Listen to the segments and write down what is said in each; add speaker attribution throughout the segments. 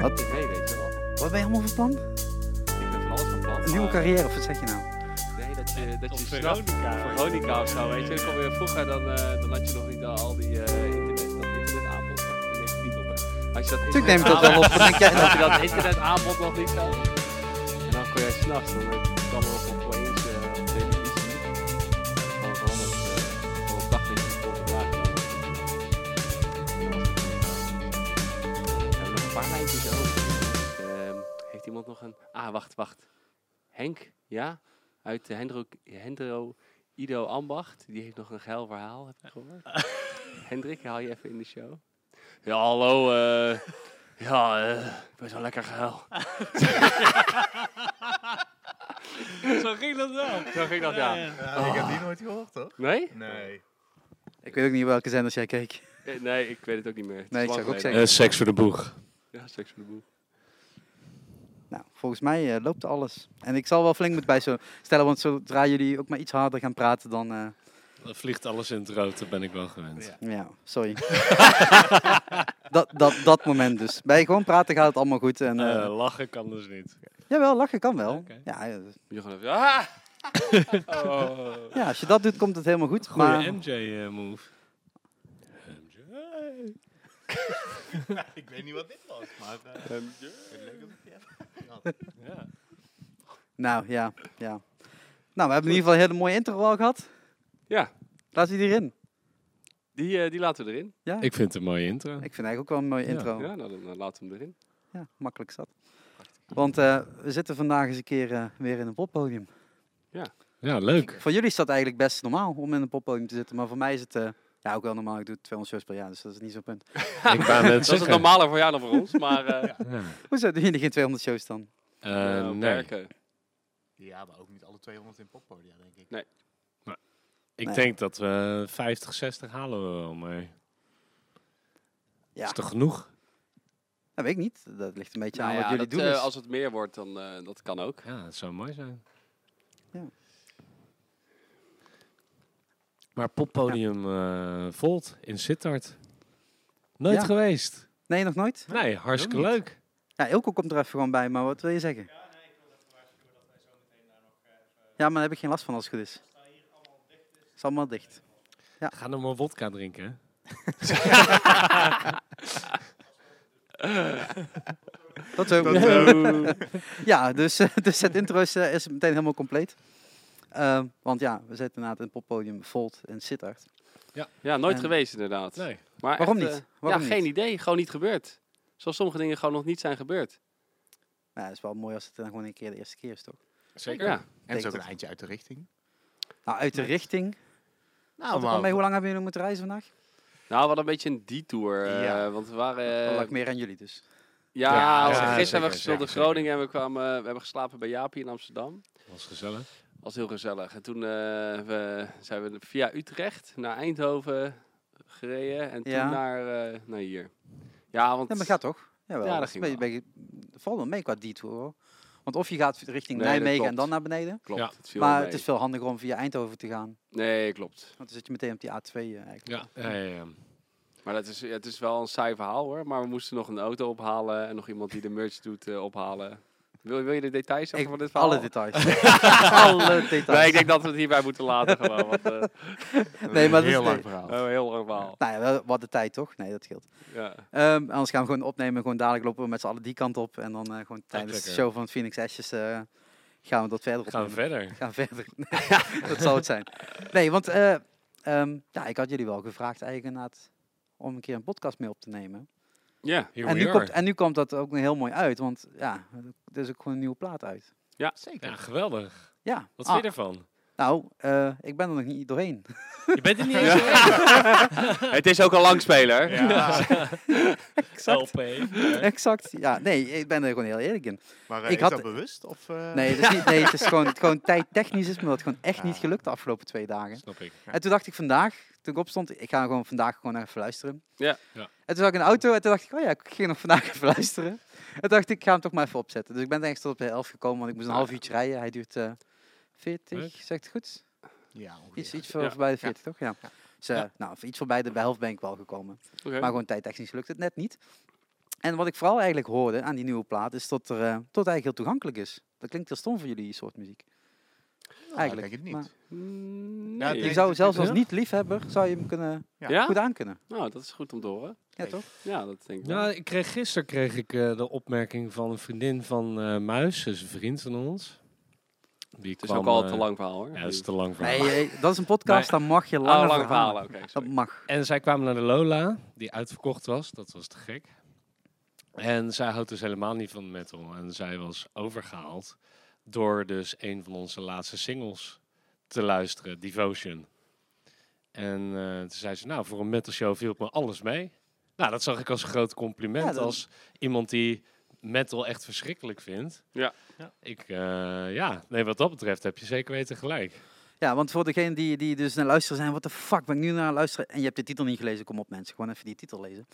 Speaker 1: Wat?
Speaker 2: tv, weet je wel.
Speaker 1: Wat ben je allemaal van plan?
Speaker 2: Ik ben van alles van plan.
Speaker 1: Een nieuwe
Speaker 2: maar-
Speaker 1: carrière, of wat zeg je nou?
Speaker 2: Nee, dat je, dat
Speaker 3: Of
Speaker 2: je snapt.
Speaker 3: Veronica.
Speaker 2: Veronica of zo, weet je. Ik kwam weer vroeger, dan, eh, dan had je nog niet al die eh, internet, dat internetaanbod. Ik neem het niet op, hè. Als je dat
Speaker 1: Natuurlijk neem ik dat wel
Speaker 2: internetaanbod-
Speaker 1: op. Wat denk jij
Speaker 2: Had
Speaker 1: nou?
Speaker 2: je dat internetaanbod nog niet zo? En dan kon jij s'nachts, dan eh, kwam er op opeens eh, op televisie. Gewoon gewoon dat, eh, gewoon op dag dat je het kon gebruiken. En dan was het goed. We hebben nog een paar lijntjes over. Ehm, heeft iemand nog een... Ah, wacht, wacht. Henk, ja? Uit de Hendro, Hendro Ido Ambacht. Die heeft nog een geil verhaal, heb ik gehoord. Hendrik, haal je even in de show. Ja, hallo. eh, ja, eh best wel lekker geil.
Speaker 3: Zo ging dat wel.
Speaker 2: Zo ging dat, ja.
Speaker 4: Ah, Ik heb die nooit gehoord, toch?
Speaker 2: Nee?
Speaker 4: Nee.
Speaker 1: Ik weet ook niet welke zenders jij keek.
Speaker 2: Eh, Nee, ik weet het ook niet meer. Het is
Speaker 1: Nee, ik
Speaker 2: lang
Speaker 1: zou ook
Speaker 2: geleden.
Speaker 1: zeggen.
Speaker 5: seks voor de boeg.
Speaker 2: Ja, seks voor de boel.
Speaker 1: Nou, volgens mij eh, loopt alles. En ik zal wel flink moeten bij zo stellen, want zodra jullie ook maar iets harder gaan praten, dan... eh,
Speaker 5: Dan vliegt alles in het rood, dat ben ik wel gewend.
Speaker 4: Ja.
Speaker 1: Ja, sorry. dat, dat, dat moment dus. Bij gewoon praten gaat het allemaal goed. En, eh,
Speaker 2: Oh.
Speaker 5: Eh, lachen kan dus niet.
Speaker 1: jawel, lachen kan wel.
Speaker 5: Oké.
Speaker 1: Ja, eh,
Speaker 2: Moet je gewoon even... Ah! Oh.
Speaker 1: ja, als je dat doet, komt het helemaal goed.
Speaker 5: Goeie eh,
Speaker 1: maar
Speaker 5: MJ-move.
Speaker 4: Ik weet niet wat dit was, maar... eh,
Speaker 1: Ehm,
Speaker 4: leuk dat ik die heb.
Speaker 5: Ja.
Speaker 1: Nou, ja, ja. Nou, we hebben in ieder geval een hele mooie intro al gehad.
Speaker 2: Ja,
Speaker 1: Laat die erin.
Speaker 2: die, eh, die laten we erin.
Speaker 5: Ik vind het een mooie intro.
Speaker 1: Ik vind eigenlijk ook wel een mooie
Speaker 5: Ja.
Speaker 1: intro. Ja,
Speaker 2: Ja, nou, dan eh, laten we hem erin.
Speaker 1: makkelijk zat. Want eh, we zitten vandaag eens een keer eh, weer in een poppodium.
Speaker 5: Ja, leuk.
Speaker 1: Voor jullie is dat eigenlijk best normaal om in een poppodium te zitten. Maar voor mij is het eh, ja, ook wel normaal. Ik doe 200 shows per jaar, dus dat is niet zo'n punt.
Speaker 5: Ik wou net
Speaker 2: Dat is het
Speaker 5: zeggen.
Speaker 2: normale voor jou dan voor ons, maar... eh,
Speaker 5: Ja.
Speaker 1: Hoezo doen jullie geen 200 shows dan?
Speaker 5: Eh,
Speaker 2: eh,
Speaker 5: nee.
Speaker 2: werken.
Speaker 4: Ja, maar ook niet alle 200 in poppodia, denk ik.
Speaker 5: Ik
Speaker 1: Nee.
Speaker 5: denk dat we 50, 60 halen we wel, maar...
Speaker 1: Ja.
Speaker 5: Is toch genoeg?
Speaker 1: Dat weet ik niet. Dat ligt een beetje
Speaker 2: Nou
Speaker 1: aan
Speaker 2: ja,
Speaker 1: wat jullie
Speaker 2: dat,
Speaker 1: doen. dus.
Speaker 2: eh,
Speaker 1: is.
Speaker 2: als het meer wordt, dan eh, dat kan ook.
Speaker 5: Ja, dat zou mooi zijn.
Speaker 1: Ja.
Speaker 5: Maar poppodium eh, Volt in Sittard. Nooit
Speaker 1: Ja.
Speaker 5: geweest.
Speaker 1: Nee, nog nooit?
Speaker 5: Nee, hartstikke
Speaker 4: Ook niet.
Speaker 5: leuk.
Speaker 1: Ja, Ilko komt er even gewoon bij, maar wat wil je zeggen? Ja, maar daar heb ik geen last van als het goed is. Het is allemaal dicht.
Speaker 5: Ga nog maar wodka drinken. hè.
Speaker 1: Dat zo.
Speaker 4: Tot zo.
Speaker 1: Ja, dus, eh, dus het intro is, eh, is meteen helemaal compleet. Ehm, want ja, we zitten inderdaad in het poppodium Volt en Sittard.
Speaker 2: Ja, nooit
Speaker 1: En-
Speaker 2: geweest inderdaad.
Speaker 5: Nee.
Speaker 2: Maar
Speaker 1: Waarom
Speaker 2: echt, eh,
Speaker 1: niet? Waarom
Speaker 2: ja,
Speaker 1: niet?
Speaker 2: geen idee. Gewoon niet gebeurd. Zoals sommige dingen gewoon nog niet zijn gebeurd.
Speaker 1: Nou, het is wel mooi als het dan gewoon een keer de eerste keer is, toch?
Speaker 5: Zeker.
Speaker 2: Ja.
Speaker 4: En
Speaker 1: Denk
Speaker 4: zo ook een
Speaker 1: dat-
Speaker 4: eindje uit de richting.
Speaker 1: Nou, uit de richting.
Speaker 4: Nou,
Speaker 1: Wat mee, hoe lang hebben jullie moeten reizen vandaag?
Speaker 2: Nou, wat een beetje een detour. eh,
Speaker 4: Ja.
Speaker 2: Want we waren... eh,
Speaker 1: Dat lag meer aan jullie dus.
Speaker 2: ja,
Speaker 5: Ja,
Speaker 2: want
Speaker 5: ja,
Speaker 2: gisteren
Speaker 5: zeker,
Speaker 2: hebben we gespeeld
Speaker 5: ja,
Speaker 2: in
Speaker 5: zeker.
Speaker 2: Groningen en we, kwamen, eh, we hebben geslapen bij Jaapie in Amsterdam.
Speaker 5: Was gezellig.
Speaker 2: was heel gezellig. En toen eh, we, zijn we via Utrecht naar Eindhoven gereden en toen
Speaker 1: Ja.
Speaker 2: naar, eh, naar hier. Ja, want
Speaker 1: Ja, maar gaat toch? Jawel,
Speaker 2: Ja, dat
Speaker 1: dat
Speaker 2: ging
Speaker 1: is een beetje- beetje- valt wel mee qua detour. hoor. Want of je gaat richting
Speaker 2: Nee, dat
Speaker 1: Nijmegen en
Speaker 2: klopt.
Speaker 1: dan naar beneden.
Speaker 2: klopt.
Speaker 5: Ja.
Speaker 2: Het viel
Speaker 1: maar
Speaker 2: mee.
Speaker 1: het is veel handiger om via Eindhoven te gaan.
Speaker 2: Nee, klopt.
Speaker 1: Want dan zit je meteen op die A2 eh, eigenlijk.
Speaker 5: Ja. Ja, ja, ja.
Speaker 2: Maar dat is, ja, het is wel een saai verhaal hoor. Maar we moesten nog een auto ophalen en nog iemand die de merch doet eh, ophalen. Wil, wil je de details over
Speaker 1: Ik-
Speaker 2: van dit verhaal?
Speaker 1: alle details. alle details.
Speaker 2: Nee, ik denk dat we het hierbij moeten laten gewoon. Want, eh,
Speaker 1: Nee, maar dat
Speaker 4: heel
Speaker 1: is- Eh,
Speaker 4: lang verhaal.
Speaker 2: een heel lang verhaal.
Speaker 1: Nou ja, wel- wat de tijd toch? Nee, dat scheelt.
Speaker 2: Ja.
Speaker 1: Ehm, anders gaan we gewoon opnemen. Gewoon dadelijk lopen we met z'n allen die kant op. En dan eh, gewoon tijdens de
Speaker 5: lekker.
Speaker 1: show van Phoenix Ashes eh, gaan we dat verder
Speaker 5: Gaan we
Speaker 1: opnemen.
Speaker 5: verder.
Speaker 1: gaan verder. dat zal het zijn. Nee, want eh, ehm, ja, ik had jullie wel gevraagd eigenlijk inderdaad om een keer een podcast mee op te nemen.
Speaker 2: Ja.
Speaker 5: Here
Speaker 1: En
Speaker 5: we
Speaker 1: nu,
Speaker 5: are.
Speaker 1: komt, en nu komt dat ook heel mooi uit, want ja, er is ook gewoon een nieuwe plaat uit.
Speaker 4: Zeker.
Speaker 5: Ja, geweldig.
Speaker 1: Ja,
Speaker 5: Wat
Speaker 1: Ah,
Speaker 5: vind je ervan?
Speaker 1: nou, eh, ik ben er nog niet doorheen.
Speaker 5: Je bent er niet eens geweest.
Speaker 2: Het is ook een langspeler.
Speaker 1: exact,
Speaker 5: LP.
Speaker 1: exact. Ja, nee, ik ben er gewoon heel eerlijk in.
Speaker 4: Maar eh,
Speaker 1: Ik
Speaker 4: is
Speaker 1: had-
Speaker 4: dat bewust? Of, eh,
Speaker 1: Nee, dat is niet, nee het is gewoon, gewoon tijdtechnisch is me dat gewoon echt
Speaker 5: Ah.
Speaker 1: niet
Speaker 4: Ja.
Speaker 1: gelukt de afgelopen twee dagen.
Speaker 5: Snap ik.
Speaker 1: En toen dacht ik vandaag, toen ik opstond, ik ga gewoon vandaag gewoon even luisteren.
Speaker 2: Ja.
Speaker 5: Ja.
Speaker 1: En toen zat ik in de auto en toen dacht ik, oh ja, ik ging nog vandaag even luisteren. En toen dacht ik, ik ga hem toch maar even opzetten. Dus ik ben echt tot op de helft gekomen, want ik moest een half uurtje rijden. Hij duurt eh 40,
Speaker 5: Leuk.
Speaker 1: zegt het goed?
Speaker 4: Ja, ongeveer.
Speaker 1: Iets, iets voor-
Speaker 2: Ja.
Speaker 1: voorbij de 40, toch? Ja.
Speaker 4: Ja.
Speaker 1: Dus, eh, Nou, iets voorbij de helft ben ik wel gekomen.
Speaker 2: Oké.
Speaker 1: Maar gewoon tijdtechnisch lukt het net niet. En wat ik vooral eigenlijk hoorde aan die nieuwe plaat, is dat, er, eh, dat het eigenlijk heel toegankelijk is. Dat klinkt heel stom voor jullie, die soort muziek. eigenlijk.
Speaker 4: Nou, denk het niet.
Speaker 1: maar
Speaker 4: Ja,
Speaker 1: je
Speaker 4: nee,
Speaker 1: zou
Speaker 4: het-
Speaker 1: zelfs
Speaker 5: het-
Speaker 1: als niet-liefhebber, zou je hem kunnen,
Speaker 4: Ja.
Speaker 2: Ja?
Speaker 1: goed aan kunnen.
Speaker 2: Nou, dat is goed om te horen.
Speaker 1: Ja, toch?
Speaker 2: Ja, dat denk ik wel.
Speaker 5: Ja, ik kreeg, gisteren kreeg ik eh, de opmerking van een vriendin van eh, Muis, dus een vriend van ons. Die
Speaker 2: het is
Speaker 5: kwam,
Speaker 2: ook al
Speaker 5: eh,
Speaker 2: te lang verhaal hoor.
Speaker 5: Ja, dat is te lang voor
Speaker 1: Nee, eh, dat is een podcast, dan mag je
Speaker 2: lang verhaal.
Speaker 1: langer verhalen.
Speaker 2: Oké,
Speaker 1: Dat
Speaker 2: Oh, sorry.
Speaker 1: mag.
Speaker 5: En zij kwamen naar de Lola, die uitverkocht was. Dat was te gek. En zij houdt dus helemaal niet van metal. En zij was overgehaald door dus een van onze laatste singles te luisteren, Devotion. En eh, toen zei ze, nou, voor een metal show viel me alles mee. Nou, dat zag ik als een groot compliment.
Speaker 1: Ja, dat-
Speaker 5: Als iemand die metal echt verschrikkelijk vindt.
Speaker 2: Ja.
Speaker 4: Ja.
Speaker 5: Ik, eh, ja, nee, wat dat betreft heb je zeker weten gelijk.
Speaker 1: Ja, want voor degenen die, die dus naar luisteren zijn, wat de fuck ben ik nu naar aan het luisteren? En je hebt de titel niet gelezen, kom op mensen, gewoon even die titel lezen.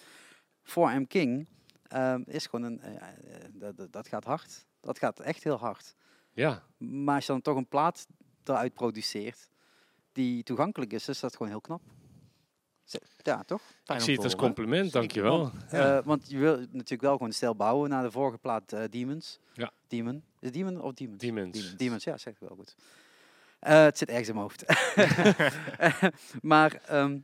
Speaker 1: For I'm King ehm, is gewoon een, eh, eh, dat- dat- dat gaat hard. Dat gaat echt heel hard.
Speaker 5: Ja,
Speaker 1: Maar als je dan toch een plaat eruit produceert die toegankelijk is, is dat gewoon heel knap. Ze- Ja, toch?
Speaker 5: ik zie het als compliment, dankjewel.
Speaker 1: Eh, want je wil natuurlijk wel gewoon stijl bouwen naar de vorige plaat eh, Demons.
Speaker 5: Ja.
Speaker 1: Demon. Is het Demon of Demons?
Speaker 5: Demons.
Speaker 1: Demons, Demons, ja, zegt wel goed. Eh, het zit ergens in mijn hoofd. Eh, maar ehm,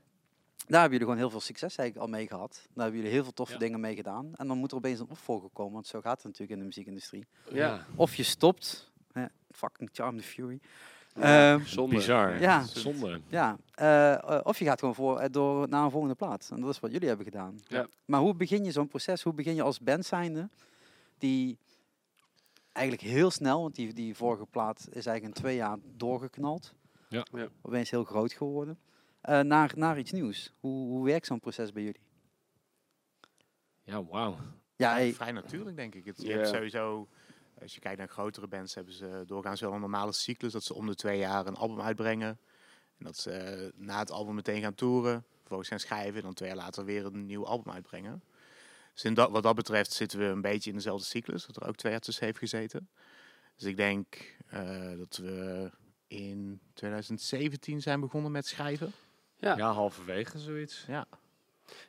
Speaker 1: daar hebben jullie gewoon heel veel succes eigenlijk al mee gehad. Daar hebben jullie heel veel toffe
Speaker 5: Ja.
Speaker 1: dingen mee gedaan. En dan moet er opeens een opvolger komen, want zo gaat het natuurlijk in de muziekindustrie.
Speaker 2: Ja.
Speaker 1: Of je stopt, hè, fucking Charm the Fury. Ehm,
Speaker 2: Zonde.
Speaker 5: Eh, Bizar.
Speaker 1: Ja.
Speaker 5: Zonde.
Speaker 1: ja, eh, eh, of je gaat gewoon voor, eh, door naar een volgende plaat. En dat is wat jullie hebben gedaan.
Speaker 2: Ja.
Speaker 1: Maar hoe begin je zo'n proces? Hoe begin je als band zijnde? Die eigenlijk heel snel, want die, die vorige plaat is eigenlijk in twee jaar doorgeknald.
Speaker 5: Ja.
Speaker 2: Ja.
Speaker 1: Opeens heel groot geworden. Eh, naar, naar iets nieuws. Hoe, hoe werkt zo'n proces bij jullie?
Speaker 5: Ja, wauw.
Speaker 1: Ja,
Speaker 4: Ja,
Speaker 1: hey,
Speaker 4: vrij natuurlijk, denk ik. Het, je
Speaker 2: Ja.
Speaker 4: hebt sowieso, als je kijkt naar grotere bands, hebben ze doorgaans wel een normale cyclus. Dat ze om de twee jaar een album uitbrengen. En dat ze eh, na het album meteen gaan toeren. Vervolgens gaan schrijven. En dan twee jaar later weer een nieuw album uitbrengen. Dus in dat, wat dat betreft zitten we een beetje in dezelfde cyclus. Dat er ook twee jaar tussen heeft gezeten. Dus ik denk eh, dat we in 2017 zijn begonnen met schrijven.
Speaker 2: Ja.
Speaker 5: Ja, halverwege zoiets.
Speaker 4: Ja.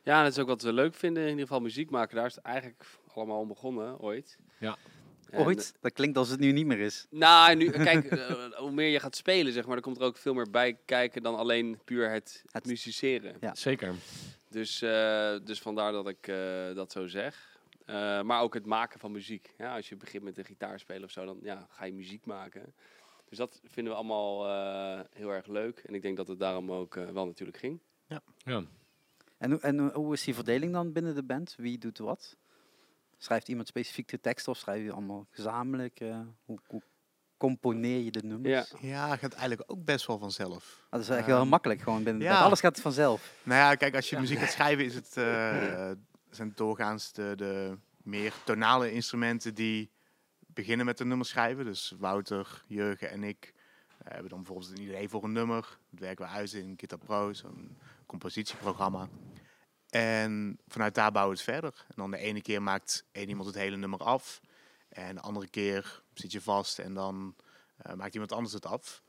Speaker 2: Ja, dat is ook wat we leuk vinden. In ieder geval muziek maken, daar is het eigenlijk allemaal om begonnen, ooit.
Speaker 5: Ja.
Speaker 2: En,
Speaker 1: ooit. Dat klinkt als het nu niet meer is.
Speaker 2: Nou, nu, kijk, eh, hoe meer je gaat spelen, zeg maar, dan komt er ook veel meer bij kijken dan alleen puur het,
Speaker 1: Het-
Speaker 2: musiceren.
Speaker 1: Ja.
Speaker 5: Zeker.
Speaker 2: Dus, eh, dus vandaar dat ik eh, dat zo zeg. Eh, maar ook het maken van muziek. Ja, als je begint met een gitaar spelen of zo, dan ja, ga je muziek maken. Dus dat vinden we allemaal eh, heel erg leuk. En ik denk dat het daarom ook eh, wel natuurlijk ging.
Speaker 5: Ja.
Speaker 1: En, hoe- en hoe- hoe is die verdeling dan binnen de band? Wie doet wat? Schrijft iemand specifiek de tekst of schrijven jullie allemaal gezamenlijk? eh, hoe, hoe componeer je de nummers?
Speaker 2: Ja.
Speaker 4: Ja, gaat eigenlijk ook best wel vanzelf.
Speaker 1: Ah, Dat is eigenlijk heel
Speaker 4: Ehm,
Speaker 1: makkelijk gewoon binnen de
Speaker 4: ja.
Speaker 1: band. Alles gaat vanzelf.
Speaker 4: Nou ja, kijk, als je muziek gaat schrijven, is het, eh, zijn doorgaans de, de meer tonale instrumenten die beginnen met een nummer schrijven. Dus Wouter, Jurgen en ik eh, hebben dan bijvoorbeeld een idee voor een nummer. Dat werken we uit in Guitar Pro, zo'n compositieprogramma. En vanuit daar bouwen we het verder. En dan de ene keer maakt één iemand het hele nummer af. En de andere keer zit je vast en dan eh, maakt iemand anders het af.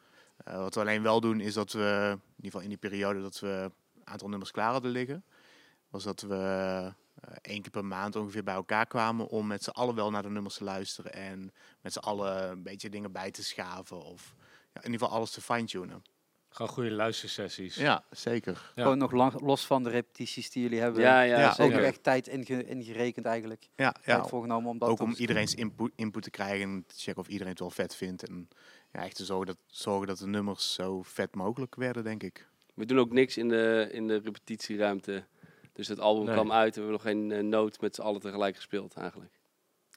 Speaker 4: Eh, wat we alleen wel doen, is dat we, in ieder geval in die periode dat we aantal nummers klaar hadden liggen. Was dat we eh, één keer per maand ongeveer bij elkaar kwamen om met z'n allen wel naar de nummers te luisteren. En met z'n allen een beetje dingen bij te schaven. Of ja, in ieder geval alles te fine-tunen.
Speaker 5: Gewoon goede luistersessies.
Speaker 4: Ja, zeker.
Speaker 5: Ja.
Speaker 1: Gewoon nog lang- los van de repetities die jullie hebben.
Speaker 2: Ja, ja,
Speaker 4: Ja,
Speaker 1: ook
Speaker 2: zeker.
Speaker 1: nog echt tijd inge- ingerekend eigenlijk.
Speaker 4: Ja,
Speaker 1: Ja.
Speaker 4: ja.
Speaker 1: voorgenomen om dat
Speaker 4: Ook
Speaker 1: dan-
Speaker 4: om iedereen's input, input te krijgen en te checken of iedereen het wel vet vindt. En ja, echt te zorgen dat, zorgen dat de nummers zo vet mogelijk werden, denk ik.
Speaker 2: We doen ook niks in de, in de repetitieruimte. Dus het album
Speaker 5: Nee.
Speaker 2: kwam uit en we hebben nog geen eh, noot met z'n allen tegelijk gespeeld eigenlijk.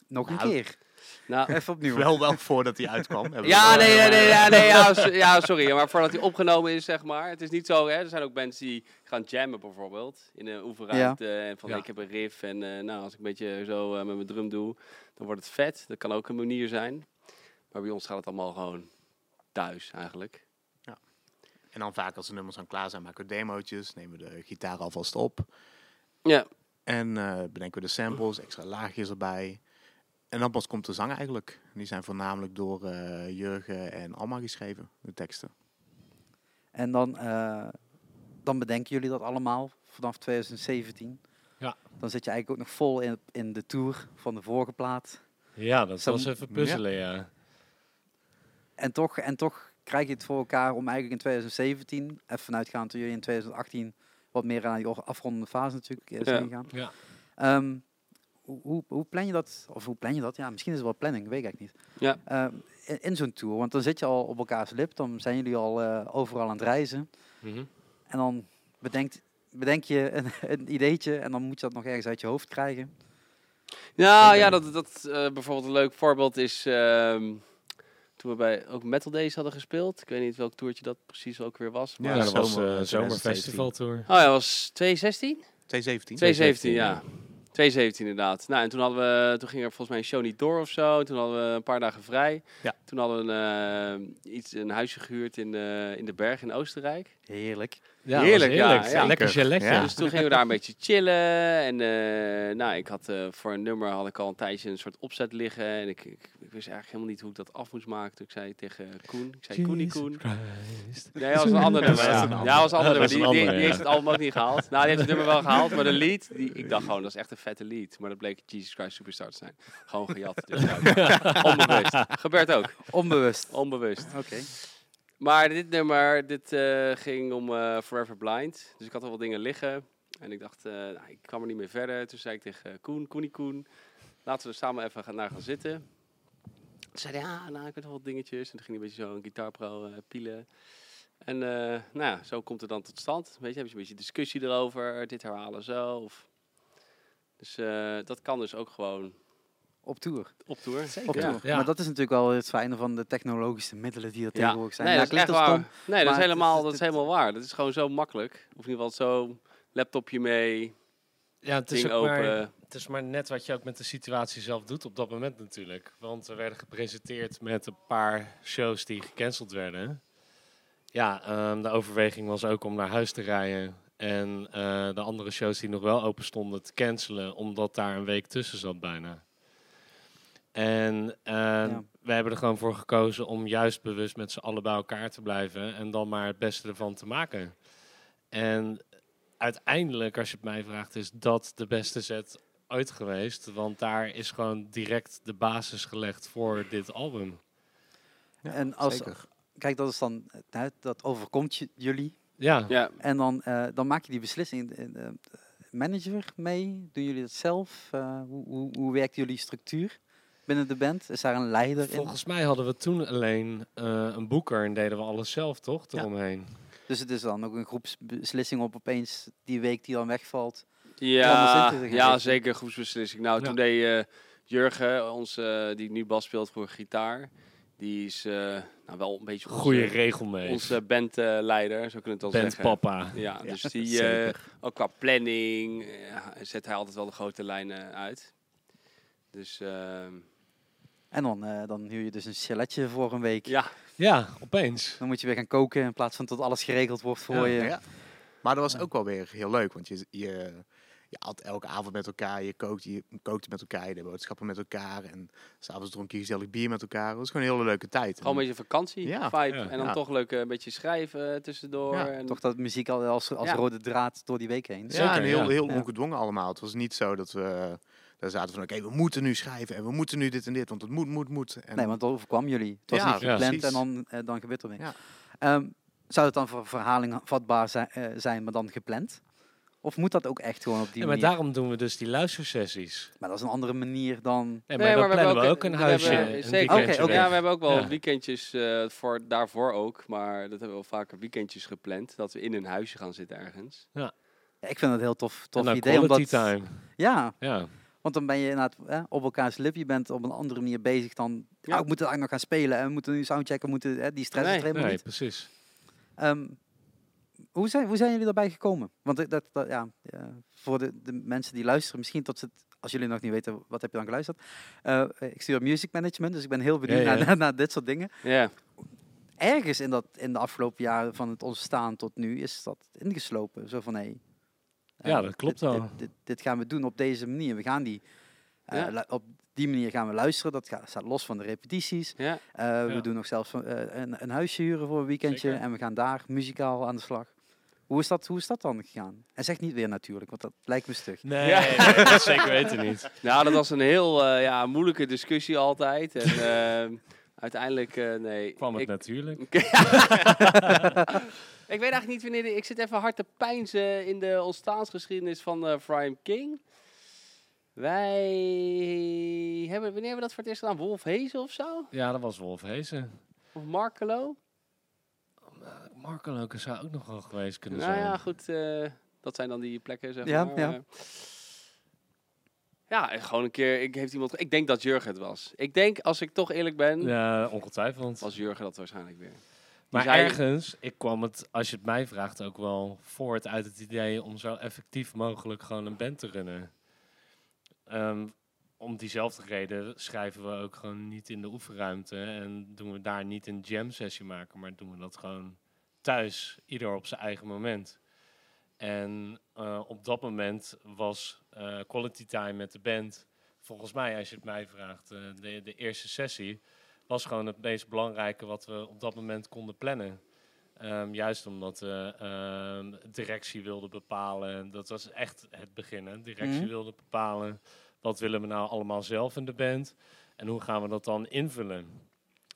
Speaker 1: Nog een
Speaker 4: Nou,
Speaker 1: keer.
Speaker 2: Nou,
Speaker 1: Even opnieuw.
Speaker 4: Wel wel voordat die uitkwam. hebben we
Speaker 2: ja,
Speaker 4: wel-
Speaker 2: nee, nee, nee, ja, nee ja, so- ja, sorry. ja, Maar voordat hij opgenomen is, zeg maar. Het is niet zo, hè. Er zijn ook mensen die gaan jammen bijvoorbeeld. In een oefenruimte. En van,
Speaker 5: Ja.
Speaker 2: ik heb een riff. En eh, nou, als ik een beetje zo eh, met mijn drum doe, dan wordt het vet. Dat kan ook een manier zijn. Maar bij ons gaat het allemaal gewoon thuis eigenlijk.
Speaker 4: En dan vaak als de nummers dan klaar zijn, maken we demootjes, nemen we de gitaar alvast op.
Speaker 2: Ja,
Speaker 4: En eh, bedenken we de samples, extra laagjes erbij. En dan pas komt de zang eigenlijk. En die zijn voornamelijk door eh, Jurgen en Alma geschreven, de teksten.
Speaker 1: En dan, eh, dan bedenken jullie dat allemaal vanaf 2017.
Speaker 5: Ja.
Speaker 1: Dan zit je eigenlijk ook nog vol in, in de tour van de vorige plaat.
Speaker 5: Ja, dat
Speaker 1: Zo-
Speaker 5: was even puzzelen, ja.
Speaker 1: En toch, en toch krijg je het voor elkaar om eigenlijk in 2017, even vanuitgaand dat jullie in 2018 wat meer aan die or- afrondende fase natuurlijk eh, zijn
Speaker 2: Ja.
Speaker 1: gegaan.
Speaker 5: Ja.
Speaker 1: Ehm, hoe, hoe, hoe plan je dat? Of hoe plan je dat? Ja, misschien is het wel planning, weet ik eigenlijk niet.
Speaker 2: Ja.
Speaker 1: Ehm, in in zo'n tour, want dan zit je al op elkaars lip, dan zijn jullie al eh, overal aan het reizen.
Speaker 5: Mhm.
Speaker 1: En dan bedenkt, bedenk je een, een ideetje en dan moet je dat nog ergens uit je hoofd krijgen.
Speaker 2: Nou
Speaker 1: Oké.
Speaker 2: ja, dat, dat eh, bijvoorbeeld een leuk voorbeeld is ehm, toen we bij ook Metal Days hadden gespeeld. Ik weet niet welk toertje dat precies ook weer was. Maar...
Speaker 5: Ja,
Speaker 4: Ja,
Speaker 5: dat was
Speaker 4: zomer,
Speaker 5: eh
Speaker 4: 2017.
Speaker 5: zomerfestival tour.
Speaker 2: Oh ja, dat was 2016?
Speaker 4: 2017.
Speaker 2: 2017, ja. 2017 inderdaad. Nou, en toen hadden we, toen ging er volgens mij een show niet door of zo. Toen hadden we een paar dagen vrij.
Speaker 4: Ja.
Speaker 2: Toen hadden we een, eh, iets, een huisje gehuurd in de, in de berg in Oostenrijk.
Speaker 1: Heerlijk.
Speaker 5: Ja, dat was
Speaker 2: Heerlijk, ja, ja.
Speaker 5: Lekker geletje.
Speaker 4: Ja.
Speaker 2: Dus toen gingen we daar een beetje chillen. En eh, nou, ik had eh, voor een nummer had ik al een tijdje een soort opzet liggen. En ik, ik, ik wist eigenlijk helemaal niet hoe ik dat af moest maken. Toen ik zei tegen Koen, ik zei Koenie Koen. Nee, dat was een ander nummer.
Speaker 4: Dat is
Speaker 2: Ja,
Speaker 4: een
Speaker 2: ja
Speaker 4: ander.
Speaker 2: dat was een ander
Speaker 5: Ja,
Speaker 2: nummer.
Speaker 5: dat is
Speaker 2: Die,
Speaker 5: een
Speaker 2: die,
Speaker 5: ander,
Speaker 2: die
Speaker 5: ja.
Speaker 2: heeft het album ook niet gehaald. Nou, die heeft het nummer wel gehaald, maar de lied, die, ik dacht gewoon, dat is echt een vette lied. Maar dat bleek Jesus Christ Superstar te zijn. Gewoon gejat. Dus ja, onbewust. Gebeurt ook.
Speaker 1: Onbewust.
Speaker 2: Onbewust.
Speaker 1: Oké.
Speaker 2: Maar dit nummer, dit eh, ging om eh, Forever Blind. Dus ik had al wat dingen liggen. En ik dacht, eh, nou, ik kwam er niet meer verder. Toen zei ik tegen Koen, Koenie Koen, laten we er samen even gaan, naar gaan zitten. Toen zei hij, ja, nou, ik weet nog wat dingetjes. En toen ging hij een beetje zo een gitaarpro eh, pielen. En eh, nou ja, zo komt het dan tot stand. Weet je, heb je een beetje discussie erover. Dit herhalen zo. Of... Dus eh, dat kan dus ook gewoon
Speaker 1: Op tour.
Speaker 2: op tour.
Speaker 1: Op
Speaker 2: Ja.
Speaker 1: tour.
Speaker 5: Ja.
Speaker 1: Maar dat is natuurlijk wel het fijne van de technologische middelen die er
Speaker 2: Ja.
Speaker 1: tegenwoordig zijn.
Speaker 2: Nee,
Speaker 1: Ja,
Speaker 2: dat is echt
Speaker 1: klinkt
Speaker 2: waar.
Speaker 1: wel
Speaker 2: Nee, dat,
Speaker 1: maar
Speaker 2: is
Speaker 1: het is-
Speaker 2: helemaal,
Speaker 1: het-
Speaker 2: dat is
Speaker 1: het-
Speaker 2: helemaal waar. Dat is gewoon zo makkelijk. Of in ieder geval zo laptopje mee,
Speaker 5: Ja, het is
Speaker 2: ding
Speaker 5: ook maar...
Speaker 2: open.
Speaker 5: Het is maar net wat je ook met de situatie zelf doet op dat moment natuurlijk. Want we werden gepresenteerd met een paar shows die gecanceld werden. Ja, ehm, de overweging was ook om naar huis te rijden. En eh, de andere shows die nog wel open stonden te cancelen, omdat daar een week tussen zat bijna. En eh, we hebben er gewoon voor gekozen om juist bewust met z'n allen bij elkaar te blijven en dan maar het beste ervan te maken. En uiteindelijk, als je het mij vraagt, is dat de beste set ooit geweest. Want daar is gewoon direct de basis gelegd voor dit album.
Speaker 4: Ja,
Speaker 1: En als-
Speaker 4: zeker.
Speaker 1: Kijk, dat is dan, eh, dat overkomt je- jullie.
Speaker 5: Ja,
Speaker 2: Ja,
Speaker 1: En dan, eh, dan maak je die beslissing. eh, eh, manager mee? Doen jullie dat zelf? Eh, hoe, hoe, hoe werkt jullie structuur binnen de band? Is daar een leider in?
Speaker 5: volgens mij hadden we toen alleen eh, een boeker en deden we alles zelf, toch?
Speaker 1: Ja.
Speaker 5: Eromheen.
Speaker 1: Dus het is dan ook een groepsbeslissing op opeens die week die dan wegvalt. anders
Speaker 2: ja,
Speaker 1: zit je er geen
Speaker 2: ja
Speaker 1: rekening.
Speaker 2: zeker groepsbeslissing. Nou,
Speaker 5: Ja.
Speaker 2: toen deed eh, Jurgen, onze, eh, die nu bas speelt voor gitaar, die is eh, nou, wel een beetje onze-
Speaker 5: Goede regel mee.
Speaker 2: onze bandleider, zo kunnen we het al
Speaker 5: Bent
Speaker 2: eh, zeggen.
Speaker 5: papa.
Speaker 2: Ja, dus die, eh,
Speaker 4: Zeker.
Speaker 2: ook qua planning, eh, zet hij altijd wel de grote lijnen uit. Dus ehm,
Speaker 1: En dan, eh, dan huur je dus een chaletje voor een week.
Speaker 2: ja,
Speaker 5: Ja, opeens.
Speaker 1: Dan moet je weer gaan koken in plaats van tot alles geregeld wordt voor je.
Speaker 5: Ja,
Speaker 4: Ja. Maar dat was ook wel weer heel leuk, want je, je, je at elke avond met elkaar, je kookte, je kookte met elkaar, je deed boodschappen met elkaar en s'avonds dronk je gezellig bier met elkaar. Het was gewoon een hele leuke tijd.
Speaker 2: gewoon een beetje vakantie
Speaker 4: Ja.
Speaker 2: vibe.
Speaker 5: Ja.
Speaker 2: En dan
Speaker 4: Ja.
Speaker 2: toch leuk eh, een beetje schrijven eh, tussendoor.
Speaker 4: Ja,
Speaker 2: en,
Speaker 1: Toch dat muziek al als, als
Speaker 2: Ja.
Speaker 1: rode draad door die week heen.
Speaker 4: ja,
Speaker 5: Zeker,
Speaker 4: en heel,
Speaker 5: ja.
Speaker 4: heel
Speaker 1: Ja.
Speaker 4: ongedwongen allemaal. Het was niet zo dat we daar zaten van, oké, we moeten nu schrijven en we moeten nu dit en dit, want het moet, moet, moet. En
Speaker 1: Nee, want dat overkwam jullie. Het was
Speaker 4: Ja,
Speaker 1: niet
Speaker 5: ja,
Speaker 1: gepland en
Speaker 4: precies.
Speaker 1: dan, eh, dan gebeurt er niks.
Speaker 4: Ja.
Speaker 1: Ehm, zou het dan voor verhaling vatbaar zijn, eh, zijn, maar dan gepland? Of moet dat ook echt gewoon op die
Speaker 5: Ja, maar
Speaker 1: manier?
Speaker 5: daarom doen we dus die luistersessies.
Speaker 1: maar dat is een andere manier dan...
Speaker 5: Nee, maar
Speaker 2: Nee,
Speaker 5: dan
Speaker 2: we hebben
Speaker 5: plannen we ook een huisje.
Speaker 2: hebben-
Speaker 5: een
Speaker 2: zeker.
Speaker 5: weekendje
Speaker 1: Oké, oké.
Speaker 5: weg.
Speaker 2: Ja, we hebben ook wel
Speaker 5: Ja.
Speaker 2: weekendjes eh, voor, daarvoor ook. Maar dat hebben we wel vaker weekendjes gepland. Dat we in een huisje gaan zitten ergens.
Speaker 1: Ja, ik vind dat een heel tof,
Speaker 5: En
Speaker 1: tof
Speaker 5: dan
Speaker 1: idee.
Speaker 5: quality
Speaker 1: Omdat,
Speaker 5: time.
Speaker 1: Ja,
Speaker 5: Ja.
Speaker 1: want dan ben je inderdaad eh, op elkaars lip. Je bent op een andere manier bezig dan...
Speaker 2: Ja.
Speaker 1: Oh, we moeten eigenlijk nog gaan spelen. En we moeten nu soundchecken. we Moeten, eh, die stress
Speaker 2: Nee,
Speaker 1: is er helemaal
Speaker 5: Nee,
Speaker 1: niet.
Speaker 5: precies.
Speaker 1: Ehm, hoe, zijn, hoe zijn jullie daarbij gekomen? Want ik- dat, dat, ja, eh, voor de, de mensen die luisteren, misschien tot ze het, als jullie nog niet weten, wat heb je dan geluisterd? Eh, ik stuur music management, dus ik ben heel benieuwd
Speaker 5: Ja, ja.
Speaker 1: Naar, naar, naar dit soort dingen.
Speaker 2: Ja,
Speaker 1: Ergens in, dat, in de afgelopen jaren van het ontstaan tot nu is dat ingeslopen. Zo van, hé... Hey, eh,
Speaker 5: Ja, dat klopt
Speaker 1: dit,
Speaker 5: wel.
Speaker 1: Dit, dit, dit gaan we doen op deze manier. We gaan die... eh,
Speaker 2: Ja.
Speaker 1: lu- op die manier gaan we luisteren. Dat gaat, staat los van de repetities.
Speaker 2: ja.
Speaker 1: Eh,
Speaker 5: Ja.
Speaker 1: We doen nog zelfs van, eh, een, een huisje huren voor een weekendje.
Speaker 5: Zeker.
Speaker 1: En we gaan daar muzikaal aan de slag. Hoe is, dat, hoe is dat dan gegaan? En zeg niet weer natuurlijk, want dat lijkt me stug.
Speaker 5: Nee,
Speaker 2: Ja.
Speaker 5: nee, dat zeker weten niet.
Speaker 2: Nou, dat was een heel eh, ja, moeilijke discussie altijd. En ehm, uiteindelijk, eh, nee.
Speaker 5: Kwam het
Speaker 2: ik,
Speaker 5: natuurlijk.
Speaker 2: ik weet eigenlijk niet wanneer... die- Ik zit even hard te peinzen in de ontstaansgeschiedenis van eh Prime King. Wij hebben... Wanneer hebben we dat voor het eerst gedaan? Wolf Hezen of zo?
Speaker 5: Ja, dat was Wolf Hezen.
Speaker 2: Of Markelo?
Speaker 5: Marco Loken zou ook nog wel geweest kunnen
Speaker 2: Nou
Speaker 5: zijn.
Speaker 2: ja, goed. eh, dat zijn dan die plekken, zeg
Speaker 1: Ja,
Speaker 2: maar.
Speaker 1: ja.
Speaker 2: eh. ja, en gewoon een keer... Ik, heeft iemand, ik denk dat Jurgen het was. Ik denk, als ik toch eerlijk ben...
Speaker 5: Ja, ongetwijfeld.
Speaker 2: Was Jurgen dat waarschijnlijk weer.
Speaker 5: Maar
Speaker 2: zei-
Speaker 5: ergens, ik kwam het, als je het mij vraagt, ook wel voort uit het idee om zo effectief mogelijk gewoon een band te runnen. Ehm, om diezelfde reden schrijven we ook gewoon niet in de oefenruimte en doen we daar niet een jam sessie maken, maar doen we dat gewoon thuis, ieder op zijn eigen moment. En eh, op dat moment was eh, quality time met de band, volgens mij, als je het mij vraagt, eh, de, de eerste sessie was gewoon het meest belangrijke wat we op dat moment konden plannen. Ehm, juist omdat we ehm, directie wilden bepalen. Dat was echt het begin. Hè? Directie
Speaker 1: Mhm.
Speaker 5: wilde bepalen. Wat willen we nou allemaal zelf in de band? En hoe gaan we dat dan invullen?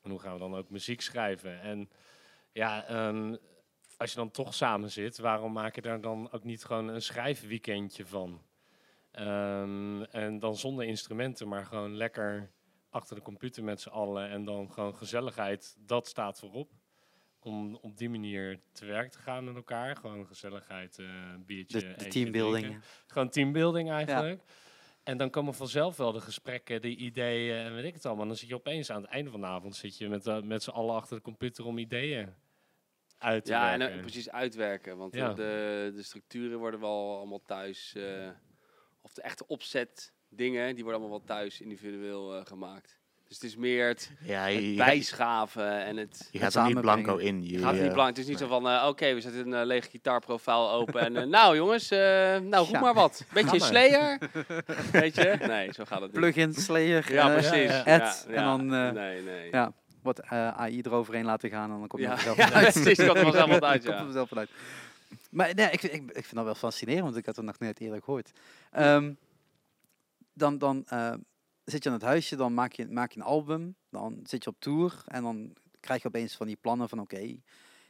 Speaker 5: En hoe gaan we dan ook muziek schrijven? En ja, ehm, als je dan toch samen zit, waarom maak je daar dan ook niet gewoon een schrijfweekendje van? Ehm, en dan zonder instrumenten, maar gewoon lekker achter de computer met z'n allen en dan gewoon gezelligheid, dat staat voorop. Om op die manier te werk te gaan met elkaar. Gewoon gezelligheid, eh, een biertje.
Speaker 1: De, de
Speaker 5: eentje
Speaker 1: teambuilding.
Speaker 5: drinken. Gewoon teambuilding eigenlijk. En dan komen vanzelf wel de gesprekken, de ideeën en weet ik het allemaal. Dan zit je opeens aan het einde van de avond zit je met, eh, met z'n allen achter de computer om ideeën uit te
Speaker 2: Ja, en
Speaker 5: werken.
Speaker 2: eh, precies uitwerken. Want eh,
Speaker 5: Ja.
Speaker 2: de, de structuren worden wel allemaal thuis. eh, of de echte opzet dingen, die worden allemaal wel thuis individueel eh, gemaakt. Dus het is meer het
Speaker 4: Ja, je, je gaat-
Speaker 2: bijschaven en het...
Speaker 1: Het
Speaker 4: je gaat er niet
Speaker 1: samenbrengen.
Speaker 4: blanco in. Je,
Speaker 2: Gaat het niet
Speaker 4: eh,
Speaker 2: belangrijk. Het is niet zo van, eh, oké, we zetten een eh, leeg gitaarprofiel open en eh, nou jongens, eh, nou roep
Speaker 1: Ja.
Speaker 2: maar wat. Beetje
Speaker 5: maar.
Speaker 2: Slayer, weet je? Nee, zo gaat het niet.
Speaker 1: Plugin, Slayer,
Speaker 2: Ja,
Speaker 1: eh,
Speaker 2: precies.
Speaker 5: ja,
Speaker 1: ja.
Speaker 2: Ja,
Speaker 1: Ad, en
Speaker 2: ja.
Speaker 1: dan, eh,
Speaker 2: nee, nee.
Speaker 1: ja, wat eh, AI eroverheen laten gaan en dan komt
Speaker 2: Ja.
Speaker 1: het vanzelf
Speaker 2: Ja,
Speaker 1: wel uit.
Speaker 2: precies, komt er vanzelf wat uit,
Speaker 1: Komt
Speaker 2: ja.
Speaker 1: er vanzelf wel uit. Maar nee, ik, ik, ik vind dat wel fascinerend, want ik had het nog nooit eerder gehoord. Ehm, dan dan eh, zit je aan het huisje, dan maak je, maak je een album, dan zit je op tour en dan krijg je opeens van die plannen van oké,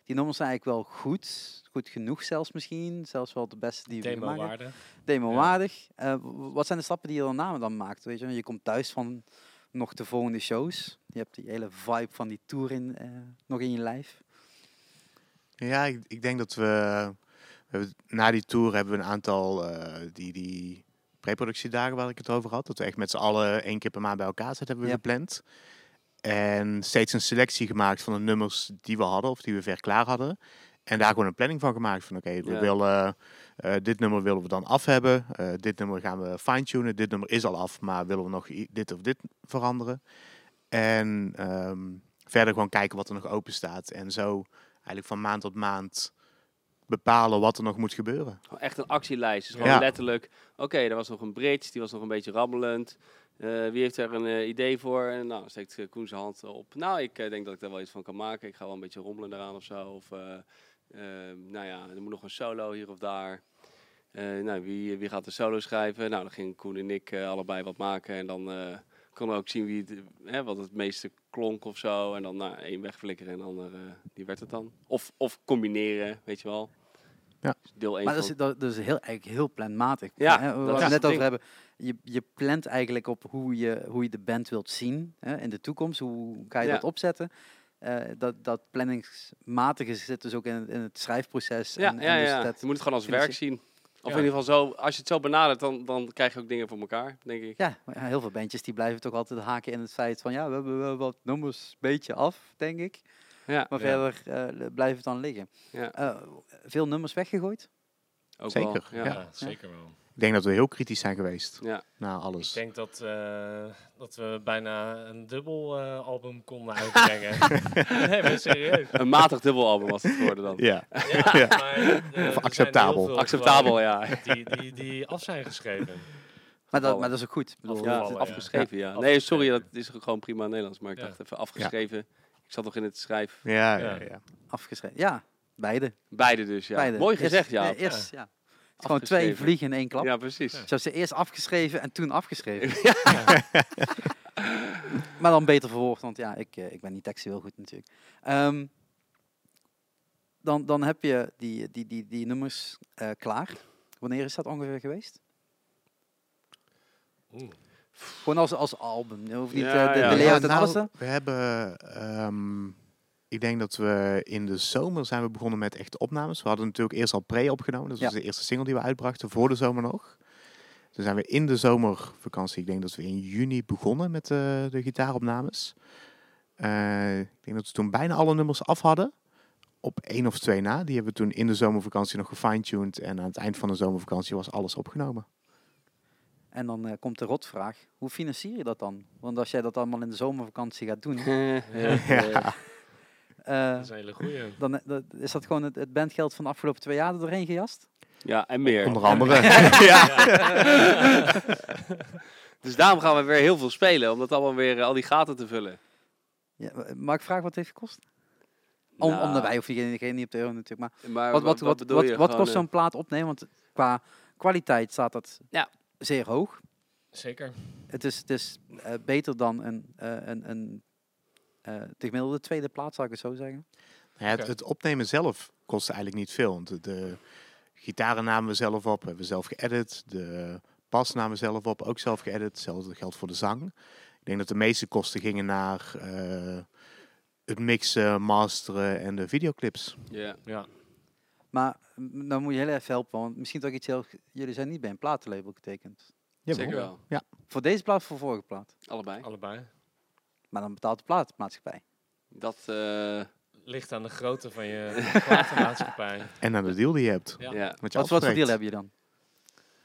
Speaker 1: die nummers zijn eigenlijk wel goed, goed genoeg zelfs misschien, zelfs wel de beste die we kunnen
Speaker 5: Thema
Speaker 1: maken
Speaker 5: waarde.
Speaker 1: demo-waardig. Eh, w- wat zijn de stappen die je dan daarna dan maakt? Weet je, wel? je komt thuis van nog de volgende shows. Je hebt die hele vibe van die tour in, eh, nog in je lijf.
Speaker 4: Ja, ik, ik denk dat we, we hebben- na die tour hebben we een aantal eh, die, die preproductiedagen waar ik het over had. Dat we echt met z'n allen één keer per maand bij elkaar zitten, hebben we
Speaker 1: Ja.
Speaker 4: gepland. En steeds een selectie gemaakt van de nummers die we hadden of die we ver klaar hadden. En daar gewoon een planning van gemaakt van oké, we
Speaker 2: Ja.
Speaker 4: willen eh, dit nummer willen we dan af hebben. eh, dit nummer gaan we fine-tunen. Dit nummer is al af, maar willen we nog i- dit of dit veranderen. En ehm, verder gewoon kijken wat er nog open staat. En zo eigenlijk van maand tot maand bepalen wat er nog moet gebeuren.
Speaker 2: Gewoon echt een actielijst. Dus gewoon
Speaker 4: Ja.
Speaker 2: letterlijk, oké, er was nog een bridge, die was nog een beetje rabbelend. Eh, wie heeft er een eh, idee voor? En nou, steekt eh, Koen zijn hand op. Nou, ik eh, denk dat ik daar wel iets van kan maken. Ik ga wel een beetje rommelen eraan of zo. Of, eh, eh, nou ja, er moet nog een solo hier of daar. Eh, nou, wie, wie gaat de solo schrijven? Nou, dan gingen Koen en ik eh, allebei wat maken. En dan eh konden we ook zien wie het, hè, wat het meeste klonk of zo. En dan nou, één wegflikkeren en de ander, eh, die werd het dan. Of, of combineren, weet je wel.
Speaker 4: Ja.
Speaker 2: Dus Deel 1
Speaker 1: Maar dat is, dat, dat is heel, eigenlijk heel planmatig.
Speaker 2: Ja,
Speaker 1: hè,
Speaker 2: dat
Speaker 1: Waar we
Speaker 2: is
Speaker 1: het
Speaker 2: het
Speaker 1: net
Speaker 2: ding.
Speaker 1: over hebben. Je, je plant eigenlijk op hoe je, hoe je de band wilt zien hè, in de toekomst. Hoe ga je
Speaker 2: Ja.
Speaker 1: dat opzetten? Eh, dat, dat planningsmatige zit dus ook in, in het schrijfproces.
Speaker 2: Ja,
Speaker 1: en, en
Speaker 2: ja,
Speaker 1: dus
Speaker 2: ja.
Speaker 1: dat-
Speaker 2: je moet het gewoon als
Speaker 1: vind ik
Speaker 2: werk zien. Of in ieder geval zo, als je het zo benadert, dan, dan krijg je ook dingen voor elkaar, denk ik.
Speaker 1: Ja, maar ja, heel veel bandjes die blijven toch altijd haken in het feit van ja, we hebben wel wat nummers een beetje af, denk ik.
Speaker 2: Ja,
Speaker 1: Maar
Speaker 5: Ja.
Speaker 1: verder eh, le- blijft het dan liggen.
Speaker 2: Ja.
Speaker 1: Eh, veel nummers weggegooid.
Speaker 2: ook
Speaker 4: Zeker,
Speaker 2: Wel. Ja.
Speaker 5: Ja,
Speaker 2: Ja.
Speaker 5: zeker wel.
Speaker 4: Ik denk dat we heel kritisch zijn geweest
Speaker 2: Ja.
Speaker 4: na alles.
Speaker 5: Ik denk dat, eh, dat we bijna een dubbel eh, album konden uitbrengen. nee, maar serieus.
Speaker 2: Een matig dubbelalbum was het geworden dan.
Speaker 4: Ja,
Speaker 5: Ja, Maar, eh, er zijn heel
Speaker 4: acceptabel.
Speaker 5: veel
Speaker 2: Acceptabel, ja.
Speaker 5: gewoon Die, die, die af zijn geschreven.
Speaker 1: Maar dat,
Speaker 2: Afgevallen.
Speaker 1: maar dat is ook goed. Ik bedoel,
Speaker 2: Ja,
Speaker 5: Afgevallen,
Speaker 1: dat-
Speaker 5: ja.
Speaker 2: afgeschreven, ja.
Speaker 5: Ja.
Speaker 2: Nee, sorry, dat is gewoon prima Nederlands, maar ik
Speaker 5: Ja.
Speaker 2: dacht even afgeschreven. Ik zat nog in het schrijf.
Speaker 4: ja, ja.
Speaker 5: Ja.
Speaker 4: ja.
Speaker 1: afgeschreven. Ja, Beide.
Speaker 2: Beide dus, ja.
Speaker 1: beide.
Speaker 2: Mooi
Speaker 1: Eerst-
Speaker 2: gezegd, ja.
Speaker 1: nee, eerst, ja. Gewoon twee
Speaker 2: Afgeschreven.
Speaker 1: vliegen in één klap.
Speaker 2: Ja, precies.
Speaker 1: Ze hebben ze eerst afgeschreven en toen afgeschreven. maar dan beter verwoord, want ja, ik, eh, ik ben niet textueel goed natuurlijk. Ehm, dan, dan heb je die, die, die, die nummers eh, klaar. Wanneer is dat ongeveer geweest?
Speaker 5: Oeh.
Speaker 1: Gewoon als, als album. Je hoeft niet
Speaker 2: Ja,
Speaker 1: eh, de,
Speaker 2: ja.
Speaker 1: de layout en
Speaker 4: nou,
Speaker 1: alles. te-
Speaker 4: we hebben, ehm, ik denk dat we in de zomer zijn we begonnen met echte opnames. We hadden natuurlijk eerst al pre opgenomen. Dat
Speaker 1: Ja.
Speaker 4: was de eerste single die we uitbrachten voor de zomer nog. Toen zijn we in de zomervakantie, ik denk dat we in juni begonnen met eh, de gitaaropnames. Eh, ik denk dat we toen bijna alle nummers af hadden. Op één of twee na. Die hebben we toen in de zomervakantie nog gefine-tuned. En aan het eind van de zomervakantie was alles opgenomen.
Speaker 1: En dan eh, komt de rotvraag. Hoe financier je dat dan? Want als jij dat allemaal in de zomervakantie gaat doen, eh,
Speaker 5: Dat is een hele goeie.
Speaker 1: dan eh, dat- is dat gewoon het, het bandgeld van de afgelopen twee jaar er doorheen gejast?
Speaker 2: Ja, en meer.
Speaker 4: Onder andere.
Speaker 2: Dus daarom gaan we weer heel veel spelen, om dat allemaal weer eh, al die gaten te vullen.
Speaker 1: Ja, eh, mag ik vragen wat het heeft gekost? Om,
Speaker 2: Nou,
Speaker 1: om de wij of diegene niet op de euro natuurlijk. Maar
Speaker 2: Maar
Speaker 1: wat, wat, wat,
Speaker 2: bedoel
Speaker 1: wat,
Speaker 2: je?
Speaker 1: wat
Speaker 2: Gewoon,
Speaker 1: kost
Speaker 2: eh,
Speaker 1: zo'n plaat opnemen? Want qua kwaliteit staat dat
Speaker 2: Ja.
Speaker 1: zeer hoog.
Speaker 5: Zeker.
Speaker 1: Het is, het is eh, beter dan een, eh, een, een eh, de gemiddelde tweede plaat, zou ik het zo zeggen.
Speaker 4: Nou Ja, het,
Speaker 5: Oké.
Speaker 4: het opnemen zelf kostte eigenlijk niet veel. Want de, de gitaren namen we zelf op, hebben we zelf geëdit. De bas namen we zelf op, ook zelf geëdit. Hetzelfde geldt voor de zang. Ik denk dat de meeste kosten gingen naar eh, het mixen, masteren en de videoclips.
Speaker 2: eh, Ja.
Speaker 5: Ja.
Speaker 1: Maar mm, dan moet je heel even helpen, want misschien toch iets heel... g- Jullie zijn niet bij een platenlabel getekend.
Speaker 4: Jawel.
Speaker 5: Zeker.
Speaker 2: Zeker wel.
Speaker 1: Voor deze plaat, voor vorige plaat.
Speaker 2: Allebei.
Speaker 5: Allebei.
Speaker 1: Maar dan betaalt de platenmaatschappij.
Speaker 2: Dat, eh,
Speaker 5: Ligt aan de grootte van je platenmaatschappij.
Speaker 4: En aan de deal die je hebt.
Speaker 5: Ja.
Speaker 2: ja.
Speaker 4: Wat, je
Speaker 1: Wat, wat voor
Speaker 4: afspreekt.
Speaker 1: deal heb je dan?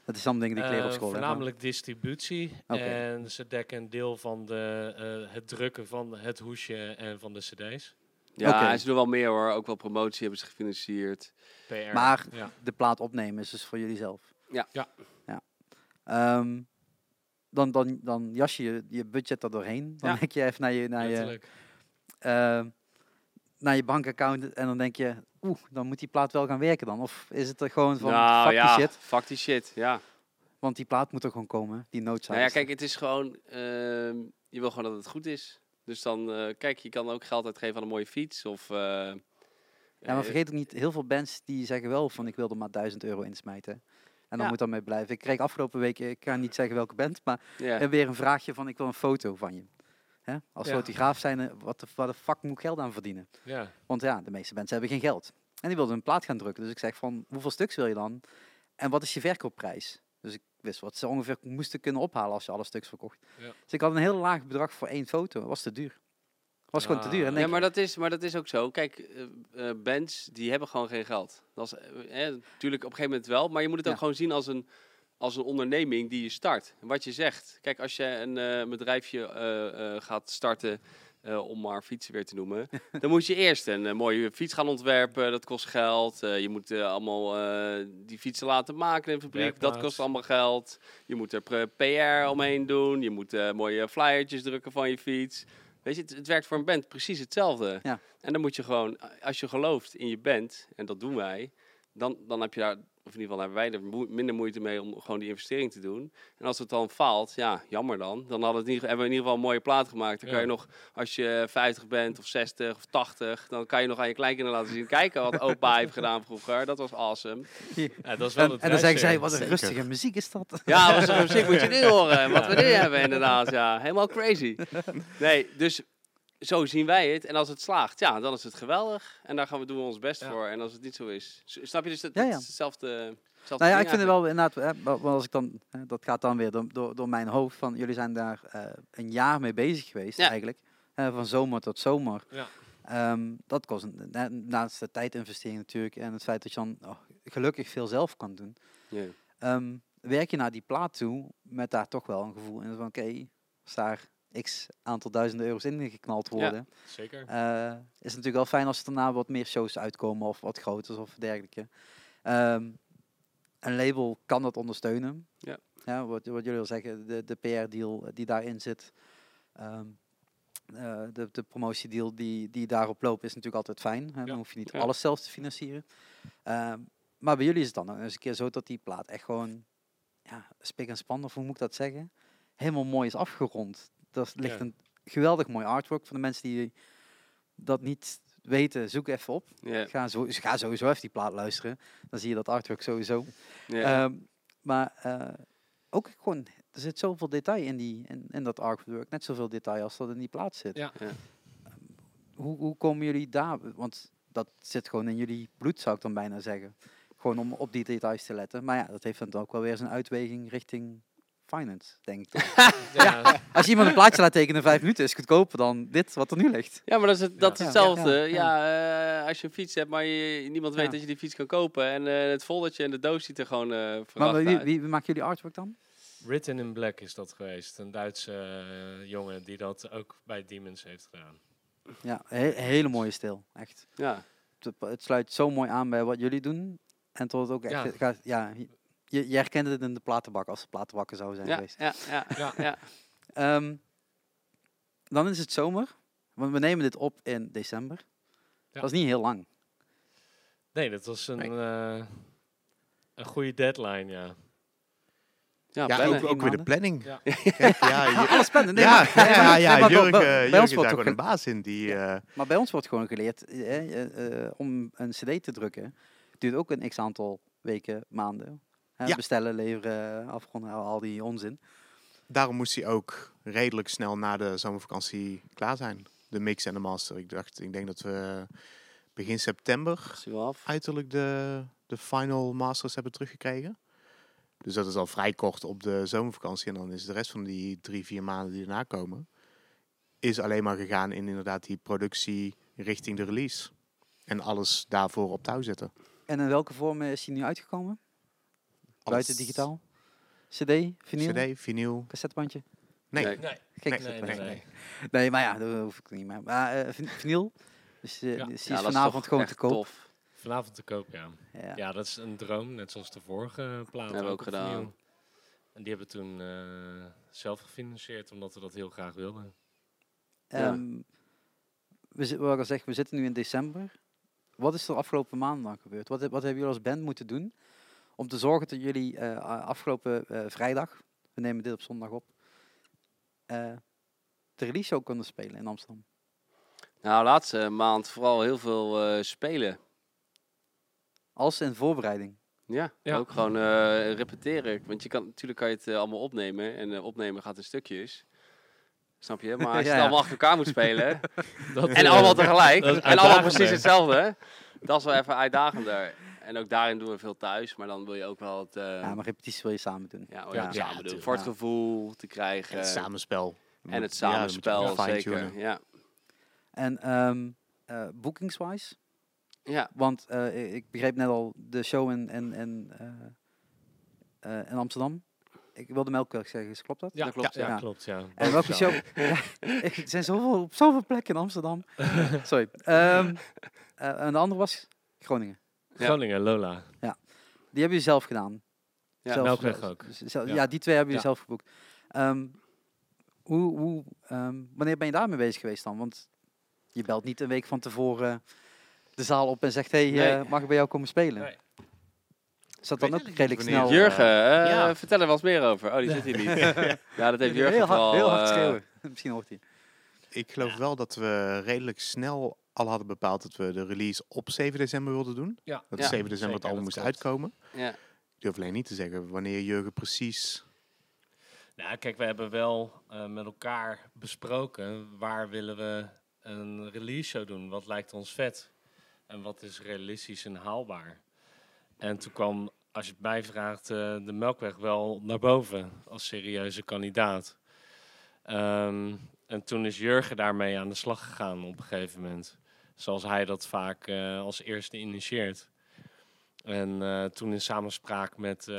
Speaker 1: Dat is dan dingen die ik leer op
Speaker 5: Eh,
Speaker 1: school. hè, maar-
Speaker 5: voornamelijk distributie.
Speaker 1: Oké.
Speaker 5: En ze dekken een deel van de, eh, het drukken van het hoesje en van de cd's.
Speaker 2: Ja,
Speaker 1: Oké.
Speaker 2: en ze doen wel meer hoor. Ook wel promotie hebben ze gefinancierd.
Speaker 5: PR.
Speaker 1: Maar-
Speaker 5: Ja.
Speaker 1: de plaat opnemen is dus voor jullie zelf.
Speaker 2: Ja.
Speaker 5: Ja.
Speaker 1: Ja. Ehm, dan, dan, dan jas je je- je budget er doorheen. Dan
Speaker 2: Ja.
Speaker 1: kijk je even naar je, naar, je,
Speaker 5: letterlijk.
Speaker 1: ehm, naar je bankaccount en dan denk je, oeh, dan moet die plaat wel gaan werken dan. Of is het er gewoon van,
Speaker 2: nou
Speaker 1: fuck
Speaker 2: ja,
Speaker 1: die shit,
Speaker 2: fuck die shit. Ja.
Speaker 1: want die plaat moet er gewoon komen, die noodzaak.
Speaker 2: Nou ja, kijk, het is gewoon... ehm, je wil gewoon dat het goed is. Dus dan, eh, kijk, je kan ook geld uitgeven aan een mooie fiets. Of, eh,
Speaker 1: Ja,
Speaker 2: eh,
Speaker 1: maar vergeet ook niet, heel veel bands die zeggen wel van, ik wil er maar 1000 euro insmijten. En dan
Speaker 2: Ja.
Speaker 1: moet dat mee blijven. Ik kreeg afgelopen week, eh, ik ga niet zeggen welke band, maar
Speaker 2: ja.
Speaker 1: En weer een vraagje van, ik wil een foto van je. Hè? Als
Speaker 5: Ja.
Speaker 1: fotograaf zijn, eh, wat de, wat de fuck moet ik geld aan verdienen?
Speaker 5: Ja.
Speaker 1: Want ja, de meeste mensen hebben geen geld. En die wilden een plaat gaan drukken. Dus ik zeg van, hoeveel stuks wil je dan? En wat is je verkoopprijs? Dus ik wist wat ze ongeveer moesten kunnen ophalen als je alle stuks verkocht.
Speaker 5: Ja.
Speaker 1: Dus ik had een heel laag bedrag voor één foto. was te duur. was gewoon te duur. En
Speaker 5: Ah.
Speaker 1: denk
Speaker 2: Ja,
Speaker 1: ik,
Speaker 2: maar dat, is, maar dat is ook zo. Kijk, eh, eh, bands die hebben gewoon geen geld. Dat is eh, eh, natuurlijk op een gegeven moment wel, maar je moet het ook
Speaker 1: Ja.
Speaker 2: gewoon zien als een, als een onderneming die je start. En Wat je zegt. Kijk, als je een eh, bedrijfje eh, eh, gaat starten, eh, om maar fietsen weer te noemen, dan moet je eerst een eh, mooie fiets gaan ontwerpen. Dat kost geld. Eh, je moet eh, allemaal eh, die fietsen laten maken in de fabriek. Dat
Speaker 5: Werkplaats.
Speaker 2: kost allemaal geld. Je moet er pre- PR omheen doen. Je moet eh, mooie flyertjes drukken van je fiets. Weet je, het, het werkt voor een band precies hetzelfde.
Speaker 1: Ja.
Speaker 2: En dan moet je gewoon, als je gelooft in je band, en dat doen wij, dan, dan heb je daar, of in ieder geval hebben wij er moe- minder moeite mee om gewoon die investering te doen. En als het dan faalt, ja, jammer dan. Dan hadden het in ieder, hebben we in ieder geval een mooie plaat gemaakt. Dan kan
Speaker 5: Ja.
Speaker 2: je nog, als je 50 bent of 60 of 80, dan kan je nog aan je kleinkinderen laten zien. Kijken wat opa heeft gedaan vroeger. Dat was awesome.
Speaker 5: Ja, dat is wel
Speaker 1: en,
Speaker 5: het
Speaker 1: en dan zeggen zij,
Speaker 5: drijfveer.
Speaker 1: wat een
Speaker 4: Zeker.
Speaker 1: rustige muziek is dat.
Speaker 2: Ja, was er muziek moet je nu horen. Wat we nu hebben inderdaad, ja. Helemaal crazy. Nee, dus zo zien wij het. En als het slaagt, ja, dan is het geweldig. En daar gaan we doen we ons best
Speaker 5: Ja.
Speaker 2: voor. En als het niet zo is, s- snap je dus dat,
Speaker 1: Ja,
Speaker 2: dat
Speaker 1: ja.
Speaker 2: is hetzelfde... hetzelfde
Speaker 1: Nou ja, ik
Speaker 2: ding
Speaker 1: vind het
Speaker 2: eigenlijk.
Speaker 1: wel inderdaad, hè, wa- want als ik dan, hè, dat gaat dan weer door, door, door mijn hoofd van jullie zijn daar eh, een jaar mee bezig geweest
Speaker 2: Ja.
Speaker 1: eigenlijk, Hè, van zomer tot zomer.
Speaker 5: Ja.
Speaker 1: Ehm, dat kost een, na- naast de tijdinvestering natuurlijk en het feit dat je dan oh, gelukkig veel zelf kan doen,
Speaker 2: Ja.
Speaker 1: ehm, werk je naar die plaat toe met daar toch wel een gevoel in van oké, als daar x aantal duizenden euro's in geknald worden,
Speaker 5: Zeker.
Speaker 1: eh, is het natuurlijk wel fijn als er daarna wat meer shows uitkomen of wat groters of dergelijke. Ehm, een label kan dat ondersteunen.
Speaker 2: Ja.
Speaker 1: eh, wat, wat jullie al zeggen, de, de PR-deal die daarin zit. Ehm, eh, de, de promotiedeal die, die daarop loopt is natuurlijk altijd fijn. Hè? Dan
Speaker 5: Ja.
Speaker 1: hoef je niet
Speaker 2: Ja.
Speaker 1: alles zelf te financieren. Ehm, maar bij jullie is het dan eens een keer zo dat die plaat echt gewoon ja, spik en span, of hoe moet ik dat zeggen? Helemaal mooi is afgerond. Daar ligt
Speaker 5: Ja.
Speaker 1: een geweldig mooi artwork voor de mensen die dat niet weten. Zoek even op.
Speaker 2: Ja,
Speaker 1: Ga, zo, ga sowieso even die plaat luisteren. Dan zie je dat artwork sowieso.
Speaker 2: ja.
Speaker 1: Ehm, maar eh, ook gewoon, er zit zoveel detail in, die, in, in dat artwork. Net zoveel detail als dat in die plaat zit. Ehm,
Speaker 5: Ja.
Speaker 2: Ja.
Speaker 1: Hoe, hoe komen jullie daar? Want dat zit gewoon in jullie bloed, zou ik dan bijna zeggen. Gewoon om op die details te letten. Maar ja, dat heeft dan ook wel weer zijn uitweging richting finance, denk ik. dan.
Speaker 5: Ja.
Speaker 1: Als je iemand een plaatje laat tekenen in vijf minuten, is het goedkoper dan dit wat er nu ligt.
Speaker 2: Ja, maar dat is, het, dat is
Speaker 1: Ja.
Speaker 2: hetzelfde.
Speaker 1: Ja,
Speaker 2: Ja,
Speaker 1: ja,
Speaker 2: eh, als je een fiets hebt, maar je, niemand weet
Speaker 1: Ja.
Speaker 2: dat je die fiets kan kopen. En eh, het foldertje en de doos ziet er gewoon eh
Speaker 1: Maar
Speaker 2: verwacht
Speaker 1: wie,
Speaker 2: uit.
Speaker 1: wie, wie maakt jullie artwork dan?
Speaker 5: Written in Black is dat geweest. Een Duitse eh, jongen die dat ook bij Demons heeft gedaan.
Speaker 1: Ja, he- hele mooie stijl, echt.
Speaker 2: Ja,
Speaker 1: het- het sluit zo mooi aan bij wat jullie doen. En tot het ook echt
Speaker 5: Ja.
Speaker 1: ge- gaat. Ja, je, je herkent het in de platenbak als het platenbakken zou zijn
Speaker 2: ja,
Speaker 1: geweest.
Speaker 2: ja, ja.
Speaker 5: Ja.
Speaker 2: ja.
Speaker 1: Ehm, dan is het zomer. Want we nemen dit op in december.
Speaker 5: Ja.
Speaker 1: Dat is niet heel lang.
Speaker 5: Nee, dat was een,
Speaker 4: Nee.
Speaker 5: eh, een goede deadline, ja.
Speaker 2: Ja,
Speaker 4: Ja,
Speaker 2: plannen.
Speaker 4: ook, ook weer de
Speaker 1: maanden.
Speaker 4: planning.
Speaker 5: Ja.
Speaker 4: Kijk, ja, je-
Speaker 1: Alles plannen. Nee,
Speaker 4: ja,
Speaker 1: maar- nee,
Speaker 4: ja, ja,
Speaker 1: maar- nee, maar bij-
Speaker 4: Jurgen,
Speaker 1: bij-
Speaker 4: eh,
Speaker 1: bij
Speaker 4: Jurgen
Speaker 1: ons
Speaker 4: is daar
Speaker 1: wordt
Speaker 4: gewoon
Speaker 1: ook
Speaker 4: een baas in. Die, eh,
Speaker 1: Maar bij ons wordt gewoon geleerd eh, eh, eh, om een cd te drukken. Duurt ook een x aantal weken, maanden. Hè,
Speaker 4: Ja.
Speaker 1: Bestellen, leveren, afronden, al al die onzin.
Speaker 4: daarom moest hij ook redelijk snel na de zomervakantie klaar zijn. De mix en de master. Ik dacht, ik denk dat we begin september
Speaker 2: Is wel af.
Speaker 4: uiterlijk de, de final masters hebben teruggekregen. Dus dat is al vrij kort op de zomervakantie. En dan is de rest van die drie, vier maanden die erna komen, is alleen maar gegaan in inderdaad die productie richting de release. En alles daarvoor op touw zetten.
Speaker 1: En in welke vorm eh, is die nu uitgekomen? Buiten
Speaker 4: Alles-
Speaker 1: digitaal? CD? Vinyl?
Speaker 4: CD, vinyl.
Speaker 1: Cassettebandje?
Speaker 4: Nee,
Speaker 2: Nee.
Speaker 5: Nee,
Speaker 1: Gek
Speaker 4: Nee,
Speaker 5: nee,
Speaker 1: nee,
Speaker 5: nee.
Speaker 1: nee, Nee, maar ja, dat hoef ik niet meer. Maar eh, vin- vinyl? Dus eh
Speaker 5: Ja.
Speaker 1: die is
Speaker 2: Ja, dat is
Speaker 1: vanavond
Speaker 2: toch
Speaker 1: gewoon
Speaker 2: echt
Speaker 1: te koop.
Speaker 2: tof.
Speaker 5: Vanavond te koop, ja.
Speaker 1: Ja.
Speaker 5: Ja, dat is een droom, net zoals de vorige plaat.
Speaker 2: Hebben we ook
Speaker 5: op vinyl.
Speaker 2: gedaan.
Speaker 5: En die hebben we toen eh, zelf gefinancierd, omdat we dat heel graag wilden.
Speaker 2: Ja.
Speaker 1: Ehm, we, zi- wat ik al zeg, we zitten nu in december. Wat is er afgelopen maanden dan gebeurd? Wat, he- wat hebben jullie als band moeten doen om te zorgen dat jullie eh, a- afgelopen eh, vrijdag, we nemen dit op zondag op, eh, de release ook konden spelen in Amsterdam?
Speaker 2: Nou, laatste maand vooral heel veel eh, spelen.
Speaker 1: Als in voorbereiding.
Speaker 2: Ja,
Speaker 5: Ja.
Speaker 2: ook gewoon eh, repeteren. Want je kan, natuurlijk kan je het eh, allemaal opnemen. En eh, opnemen gaat in stukjes. Snap je? Maar als je
Speaker 1: Ja,
Speaker 2: het
Speaker 1: ja.
Speaker 2: allemaal achter elkaar moet spelen.
Speaker 5: Dat,
Speaker 2: en
Speaker 5: eh,
Speaker 2: allemaal tegelijk.
Speaker 5: dat is
Speaker 2: En allemaal
Speaker 5: uitdagender.
Speaker 2: precies hetzelfde. Dat is wel even uitdagender. En ook daarin doen we veel thuis. Maar dan wil je ook wel het... eh,
Speaker 1: Ja, maar repetities wil je samen doen.
Speaker 2: ja, oh
Speaker 5: Ja,
Speaker 2: ja,
Speaker 5: ja,
Speaker 2: samen doen.
Speaker 5: tuurlijk.
Speaker 2: Voor het
Speaker 1: Ja.
Speaker 2: gevoel te krijgen.
Speaker 4: en het samenspel.
Speaker 2: eh, en het
Speaker 4: Ja, dat moet je
Speaker 2: samenspel,
Speaker 4: wel fine-tunen.
Speaker 2: zeker. Ja.
Speaker 1: En ehm eh boekingswise,
Speaker 2: ja,
Speaker 1: want eh, i- ik begreep net al de show in, in, in, eh, eh, in Amsterdam. Ik wilde Melkweg zeggen, dus klopt dat?
Speaker 5: Ja,
Speaker 2: dat klopt.
Speaker 5: ja,
Speaker 2: Ja.
Speaker 1: ja.
Speaker 5: klopt, ja.
Speaker 1: En welke show? Ja, er zijn zoveel, op zoveel plekken in Amsterdam. Sorry. Ehm, eh, en de andere was Groningen.
Speaker 2: Ja.
Speaker 5: Groningen, Lola.
Speaker 1: Die hebben jullie zelf gedaan.
Speaker 2: Ja.
Speaker 1: eh,
Speaker 5: Melkweg ook.
Speaker 1: z- zelf-
Speaker 5: Ja.
Speaker 1: ja. die twee hebben jullie
Speaker 5: Ja.
Speaker 1: zelf geboekt. Ehm, hoe, hoe, ehm, wanneer ben je daarmee bezig geweest dan? Want je belt niet een week van tevoren de zaal op en zegt: hey,
Speaker 2: Nee.
Speaker 1: eh, mag ik bij jou komen spelen?
Speaker 5: Nee.
Speaker 1: Is dat
Speaker 4: Ik
Speaker 1: dan ook
Speaker 4: weet eigenlijk
Speaker 1: redelijk
Speaker 4: niet wanneer-
Speaker 1: snel?
Speaker 2: Jurgen, eh,
Speaker 4: ja.
Speaker 2: vertel er wat meer over. Oh, die zit hier niet. ja, dat heeft Jurgen
Speaker 1: heel
Speaker 2: vooral...
Speaker 1: hard, heel hard
Speaker 2: eh,
Speaker 1: schreeuwen. Misschien hoort hij.
Speaker 4: Ik geloof wel dat we redelijk snel al hadden bepaald dat we de release op 7 december wilden doen.
Speaker 5: Ja.
Speaker 4: Dat
Speaker 2: Ja.
Speaker 4: 7 december het
Speaker 5: Zeker,
Speaker 4: album
Speaker 5: dat
Speaker 4: moest
Speaker 5: klopt.
Speaker 4: uitkomen.
Speaker 2: ja.
Speaker 4: Ik durf alleen niet te zeggen wanneer Jurgen precies...
Speaker 5: Nou, kijk, we hebben wel eh, met elkaar besproken waar willen we een release show doen. Wat lijkt ons vet en wat is realistisch en haalbaar. En toen kwam, als je het mij vraagt, eh, de Melkweg wel naar boven als serieuze kandidaat. Ehm, en toen is Jurgen daarmee aan de slag gegaan op een gegeven moment. Zoals hij dat vaak eh, als eerste initieert. En eh, toen in samenspraak met, eh,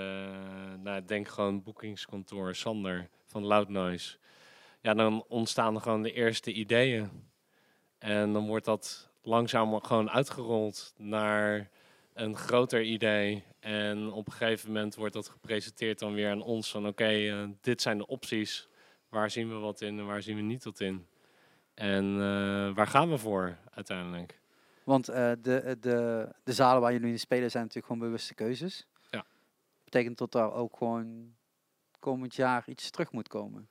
Speaker 5: nou, ik denk gewoon boekingskantoor Sander van Loud Noise. Ja, dan ontstaan er gewoon de eerste ideeën. En dan wordt dat langzaam gewoon uitgerold naar een groter idee. En op een gegeven moment wordt dat gepresenteerd dan weer aan ons. Van oké, eh, dit zijn de opties. Waar zien we wat in en waar zien we niet wat in? En eh, waar gaan we voor uiteindelijk?
Speaker 1: Want eh, de, eh, de, de zalen waar jullie in spelen zijn natuurlijk gewoon bewuste keuzes.
Speaker 5: Ja.
Speaker 1: Betekent dat daar ook gewoon komend jaar iets terug moet komen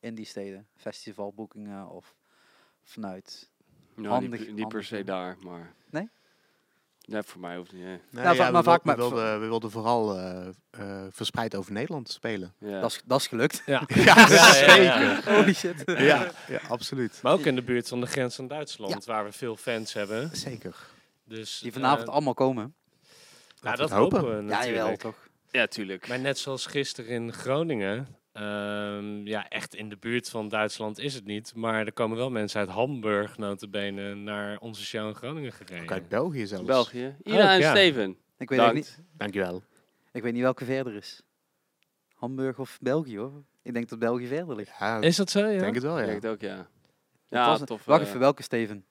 Speaker 1: in die steden? Festivalboekingen of vanuit.
Speaker 2: Nou, niet
Speaker 1: Handig,
Speaker 2: per- niet per
Speaker 1: handig,
Speaker 2: se
Speaker 1: ja.
Speaker 2: daar, maar...
Speaker 1: Nee?
Speaker 2: Nee, voor mij hoeft niet. hè.
Speaker 4: Nee,
Speaker 1: Nou, va- maar
Speaker 4: we,
Speaker 1: vaak
Speaker 4: wil-
Speaker 1: maar-
Speaker 4: we, wilden, we wilden vooral eh, eh, verspreid over Nederland spelen.
Speaker 2: Ja.
Speaker 1: Dat, is, dat is gelukt.
Speaker 5: Ja.
Speaker 4: Ja,
Speaker 1: Holy shit.
Speaker 4: Ja, ja, absoluut.
Speaker 5: Maar ook in de buurt van de grens aan Duitsland, waar we veel fans hebben.
Speaker 4: Zeker.
Speaker 5: Dus,
Speaker 1: Die vanavond
Speaker 5: eh,
Speaker 1: allemaal komen.
Speaker 5: nou,
Speaker 4: Laten
Speaker 5: dat
Speaker 4: we het
Speaker 5: hopen
Speaker 4: hopen.
Speaker 5: we
Speaker 1: Ja,
Speaker 5: natuurlijk.
Speaker 1: jawel toch.
Speaker 2: ja, tuurlijk.
Speaker 5: Maar net zoals gisteren in Groningen. ehm, ja, echt in de buurt van Duitsland is het niet. Maar er komen wel mensen uit Hamburg, notabene, naar onze show in Groningen gereden.
Speaker 4: Ook uit België zelfs.
Speaker 2: België. Ina en
Speaker 5: ja.
Speaker 2: Steven.
Speaker 1: Oh, Ik weet, ook
Speaker 2: Bedankt.
Speaker 1: niet, Oh,
Speaker 4: Dankjewel.
Speaker 1: ik weet niet welke verder is. Hamburg of België hoor. Ik denk dat België verder ligt.
Speaker 4: Ja, ik
Speaker 5: Is dat zo, ja?
Speaker 4: eh, denk het wel,
Speaker 2: Ik
Speaker 4: ja.
Speaker 2: denk het ook, ja.
Speaker 1: Dat
Speaker 2: Ja,
Speaker 1: was het.
Speaker 2: tof.
Speaker 1: Wacht
Speaker 2: eh,
Speaker 1: even, welke Steven?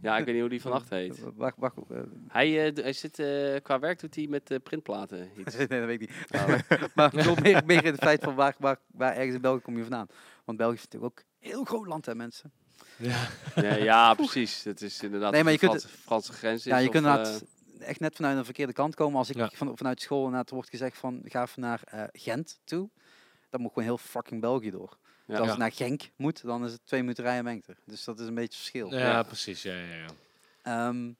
Speaker 2: ja, ik weet niet hoe die vannacht heet.
Speaker 1: Wacht, wacht. eh,
Speaker 2: Hij, eh, d- hij zit, eh, qua werk doet hij met eh, printplaten iets.
Speaker 1: nee, dat weet ik niet. maar ik wil meer, meer in het feit van waar, waar, waar ergens in België kom je vandaan. Want België is natuurlijk ook een heel groot land, hè mensen.
Speaker 5: Ja.
Speaker 2: ja, ja, precies. Dat is inderdaad
Speaker 1: Nee, maar
Speaker 2: of
Speaker 1: je
Speaker 2: de
Speaker 1: kunt-
Speaker 2: Franse, Franse grens. Is,
Speaker 1: ja, je
Speaker 2: of,
Speaker 1: kunt
Speaker 2: eh,
Speaker 1: inderdaad echt net vanuit een verkeerde kant komen. Als ik
Speaker 5: Ja.
Speaker 1: van, vanuit school inderdaad wordt gezegd van, ga even naar eh, Gent toe. Dan moet gewoon heel fucking België door.
Speaker 2: ja.
Speaker 1: Dus als
Speaker 5: Ja.
Speaker 1: het naar Genk moet, dan is het twee minuten rijden mengter. Dus dat is een beetje het verschil.
Speaker 5: Ja, precies, ja, ja, ja.
Speaker 1: Ehm,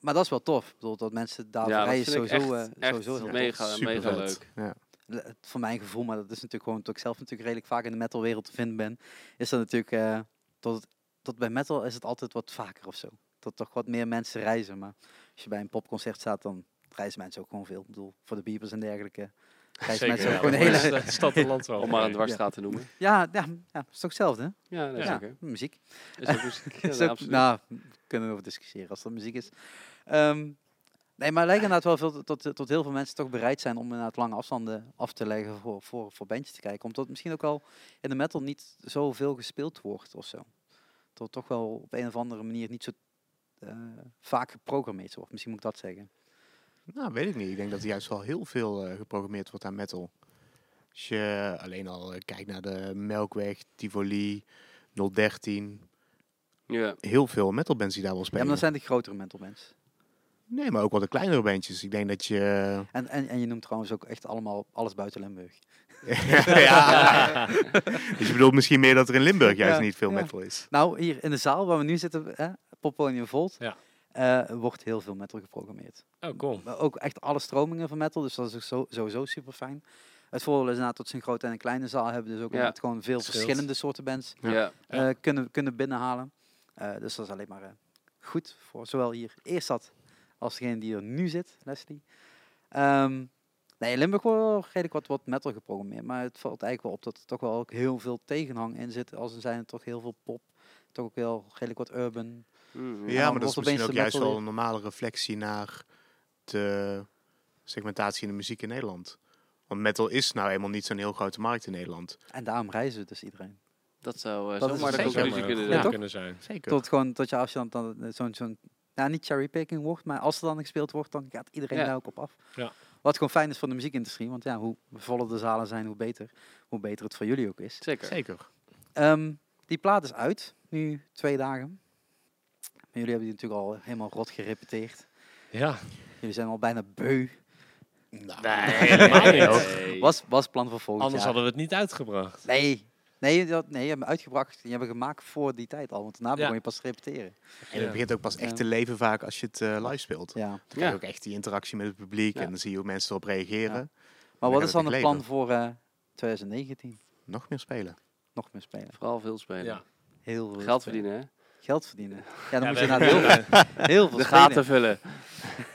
Speaker 1: maar dat is wel tof. Ik bedoel, dat mensen daar
Speaker 2: Ja, dat
Speaker 1: rijden is
Speaker 2: vind ik
Speaker 1: sowieso,
Speaker 2: echt-
Speaker 1: eh, sowieso
Speaker 2: echt
Speaker 1: heel tof.
Speaker 2: mega, mega
Speaker 4: Supervet.
Speaker 2: leuk.
Speaker 4: Ja.
Speaker 1: le- het- voor mijn gevoel, maar dat is natuurlijk gewoon dat ik zelf natuurlijk redelijk vaak in de metalwereld te vinden ben, is dat natuurlijk eh dat, het- dat bij metal is het altijd wat vaker of zo. Dat toch wat meer mensen reizen. Maar als je bij een popconcert staat, dan reizen mensen ook gewoon veel. Ik bedoel, voor de biebers en dergelijke. Reizen
Speaker 5: Zeker,
Speaker 1: mensen
Speaker 5: ja,
Speaker 1: ook gewoon de
Speaker 5: voor de
Speaker 1: hele.
Speaker 5: sta- stad en land wel.
Speaker 2: Om maar een
Speaker 5: Ja.
Speaker 2: dwarsstraat te noemen.
Speaker 1: Ja, ja, ja, is toch hetzelfde? hè?
Speaker 2: Ja, dat is
Speaker 1: ja,
Speaker 2: oké.
Speaker 1: muziek.
Speaker 2: Is ook muziek. Ja,
Speaker 1: Is
Speaker 2: nee,
Speaker 1: ook-
Speaker 2: absoluut.
Speaker 1: nou, kunnen we over discussiëren als dat muziek is. Ehm, nee, maar het lijkt inderdaad wel veel tot, tot heel veel mensen toch bereid zijn om inderdaad lange afstanden af te leggen voor, voor, voor bandjes te kijken. Omdat het misschien ook al in de metal niet zoveel gespeeld wordt of zo. Dat het toch wel op een of andere manier niet zo eh, vaak geprogrammeerd wordt. Misschien moet ik dat zeggen.
Speaker 4: Nou, weet ik niet. Ik denk dat er juist wel heel veel eh, geprogrammeerd wordt aan metal. Als je alleen al eh, kijkt naar de Melkweg, Tivoli, 013.
Speaker 2: Ja.
Speaker 4: Heel veel metalbands die daar wel
Speaker 1: Ja, maar
Speaker 4: spelen.
Speaker 1: dan zijn de grotere metal bands.
Speaker 4: Nee, maar ook wel de kleinere bandjes. Ik denk dat je...
Speaker 1: En, en, en je noemt trouwens ook echt allemaal alles buiten Limburg.
Speaker 4: ja. dus je bedoelt misschien meer dat er in Limburg juist
Speaker 1: Ja,
Speaker 4: niet veel
Speaker 1: ja.
Speaker 4: metal is.
Speaker 1: Nou, hier in de zaal waar we nu zitten, hè, Popponium Volt,
Speaker 5: Ja.
Speaker 1: eh, wordt heel veel metal geprogrammeerd.
Speaker 5: Oh, cool.
Speaker 1: Maar ook echt alle stromingen van metal, dus dat is ook zo, sowieso super fijn. Het voordeel is inderdaad dat ze een grote en een kleine zaal hebben, dus ook
Speaker 2: Ja.
Speaker 1: inderdaad gewoon veel
Speaker 5: Scheelt.
Speaker 1: verschillende soorten bands
Speaker 2: Ja.
Speaker 5: Ja.
Speaker 1: eh, kunnen, kunnen binnenhalen. Eh, dus dat is alleen maar eh, goed voor zowel hier eerst dat als degene die er nu zit, Leslie. Ehm, nee, in Limburg wordt wel redelijk wat, wat metal geprogrammeerd, maar het valt eigenlijk wel op dat er toch wel ook heel veel tegenhang in zit. Als er zijn er toch heel veel pop, toch ook wel redelijk wat urban.
Speaker 2: Mm, ja.
Speaker 4: Ja,
Speaker 1: dan
Speaker 4: maar dat is
Speaker 1: wordt
Speaker 4: misschien
Speaker 1: opeens
Speaker 4: ook
Speaker 1: de
Speaker 4: juist
Speaker 1: metal
Speaker 4: wel een normale reflectie naar de segmentatie in de muziek in Nederland. Want metal is nou eenmaal niet zo'n heel grote markt in Nederland.
Speaker 1: En daarom reizen we dus iedereen.
Speaker 2: Dat zou eh
Speaker 1: Dat is
Speaker 2: zomaar de
Speaker 1: zeker
Speaker 2: conclusie
Speaker 5: maar
Speaker 2: kunnen
Speaker 5: goed
Speaker 1: Ja,
Speaker 2: zijn.
Speaker 1: toch?
Speaker 5: kunnen zijn.
Speaker 4: Zeker.
Speaker 1: Tot gewoon dat je als je dan, dan eh, zo'n zo'n ja, niet cherrypicking wordt, maar als er dan gespeeld wordt, dan gaat iedereen
Speaker 2: Ja.
Speaker 1: daar ook op af.
Speaker 5: Ja.
Speaker 1: Wat gewoon fijn is voor de muziekindustrie, want ja, hoe voller de zalen zijn, hoe beter, hoe beter het voor jullie ook is.
Speaker 2: Zeker.
Speaker 4: Zeker.
Speaker 1: Ehm, die plaat is uit, nu twee dagen. Maar jullie hebben die natuurlijk al helemaal rot gerepeteerd.
Speaker 5: Ja,
Speaker 1: Jullie zijn al bijna beu. Nou,
Speaker 5: helemaal niet.
Speaker 2: Nee.
Speaker 1: Was, was plan voor volgend
Speaker 5: Anders
Speaker 1: jaar.
Speaker 5: hadden we het niet uitgebracht.
Speaker 1: Nee, nee, dat, nee, je hebt hem uitgebracht. Die hebben we gemaakt voor die tijd al, want daarna
Speaker 5: Ja.
Speaker 1: begon je pas te repeteren.
Speaker 4: En het
Speaker 5: Ja.
Speaker 4: begint ook pas
Speaker 1: Ja.
Speaker 4: echt te leven vaak als je het eh, live speelt. Dan
Speaker 1: Ja.
Speaker 4: krijg je
Speaker 2: Ja.
Speaker 4: ook echt die interactie met het publiek
Speaker 2: Ja.
Speaker 4: en dan zie je hoe mensen erop reageren.
Speaker 1: Maar
Speaker 4: Dan
Speaker 1: wat
Speaker 4: gaat
Speaker 1: is
Speaker 4: het
Speaker 1: dan het
Speaker 4: echt
Speaker 1: plan
Speaker 4: leven.
Speaker 1: voor eh, 2019?
Speaker 4: Nog meer spelen.
Speaker 1: Nog meer spelen.
Speaker 2: Vooral veel spelen.
Speaker 5: Ja.
Speaker 1: Heel veel
Speaker 2: Geld
Speaker 1: spelen.
Speaker 2: verdienen, hè?
Speaker 1: Geld verdienen. Ja, dan
Speaker 5: Ja,
Speaker 1: moet
Speaker 5: we,
Speaker 1: je naar
Speaker 5: hebben
Speaker 1: heel,
Speaker 5: nu, eh,
Speaker 1: heel veel
Speaker 2: De
Speaker 1: spelen.
Speaker 2: gaten vullen.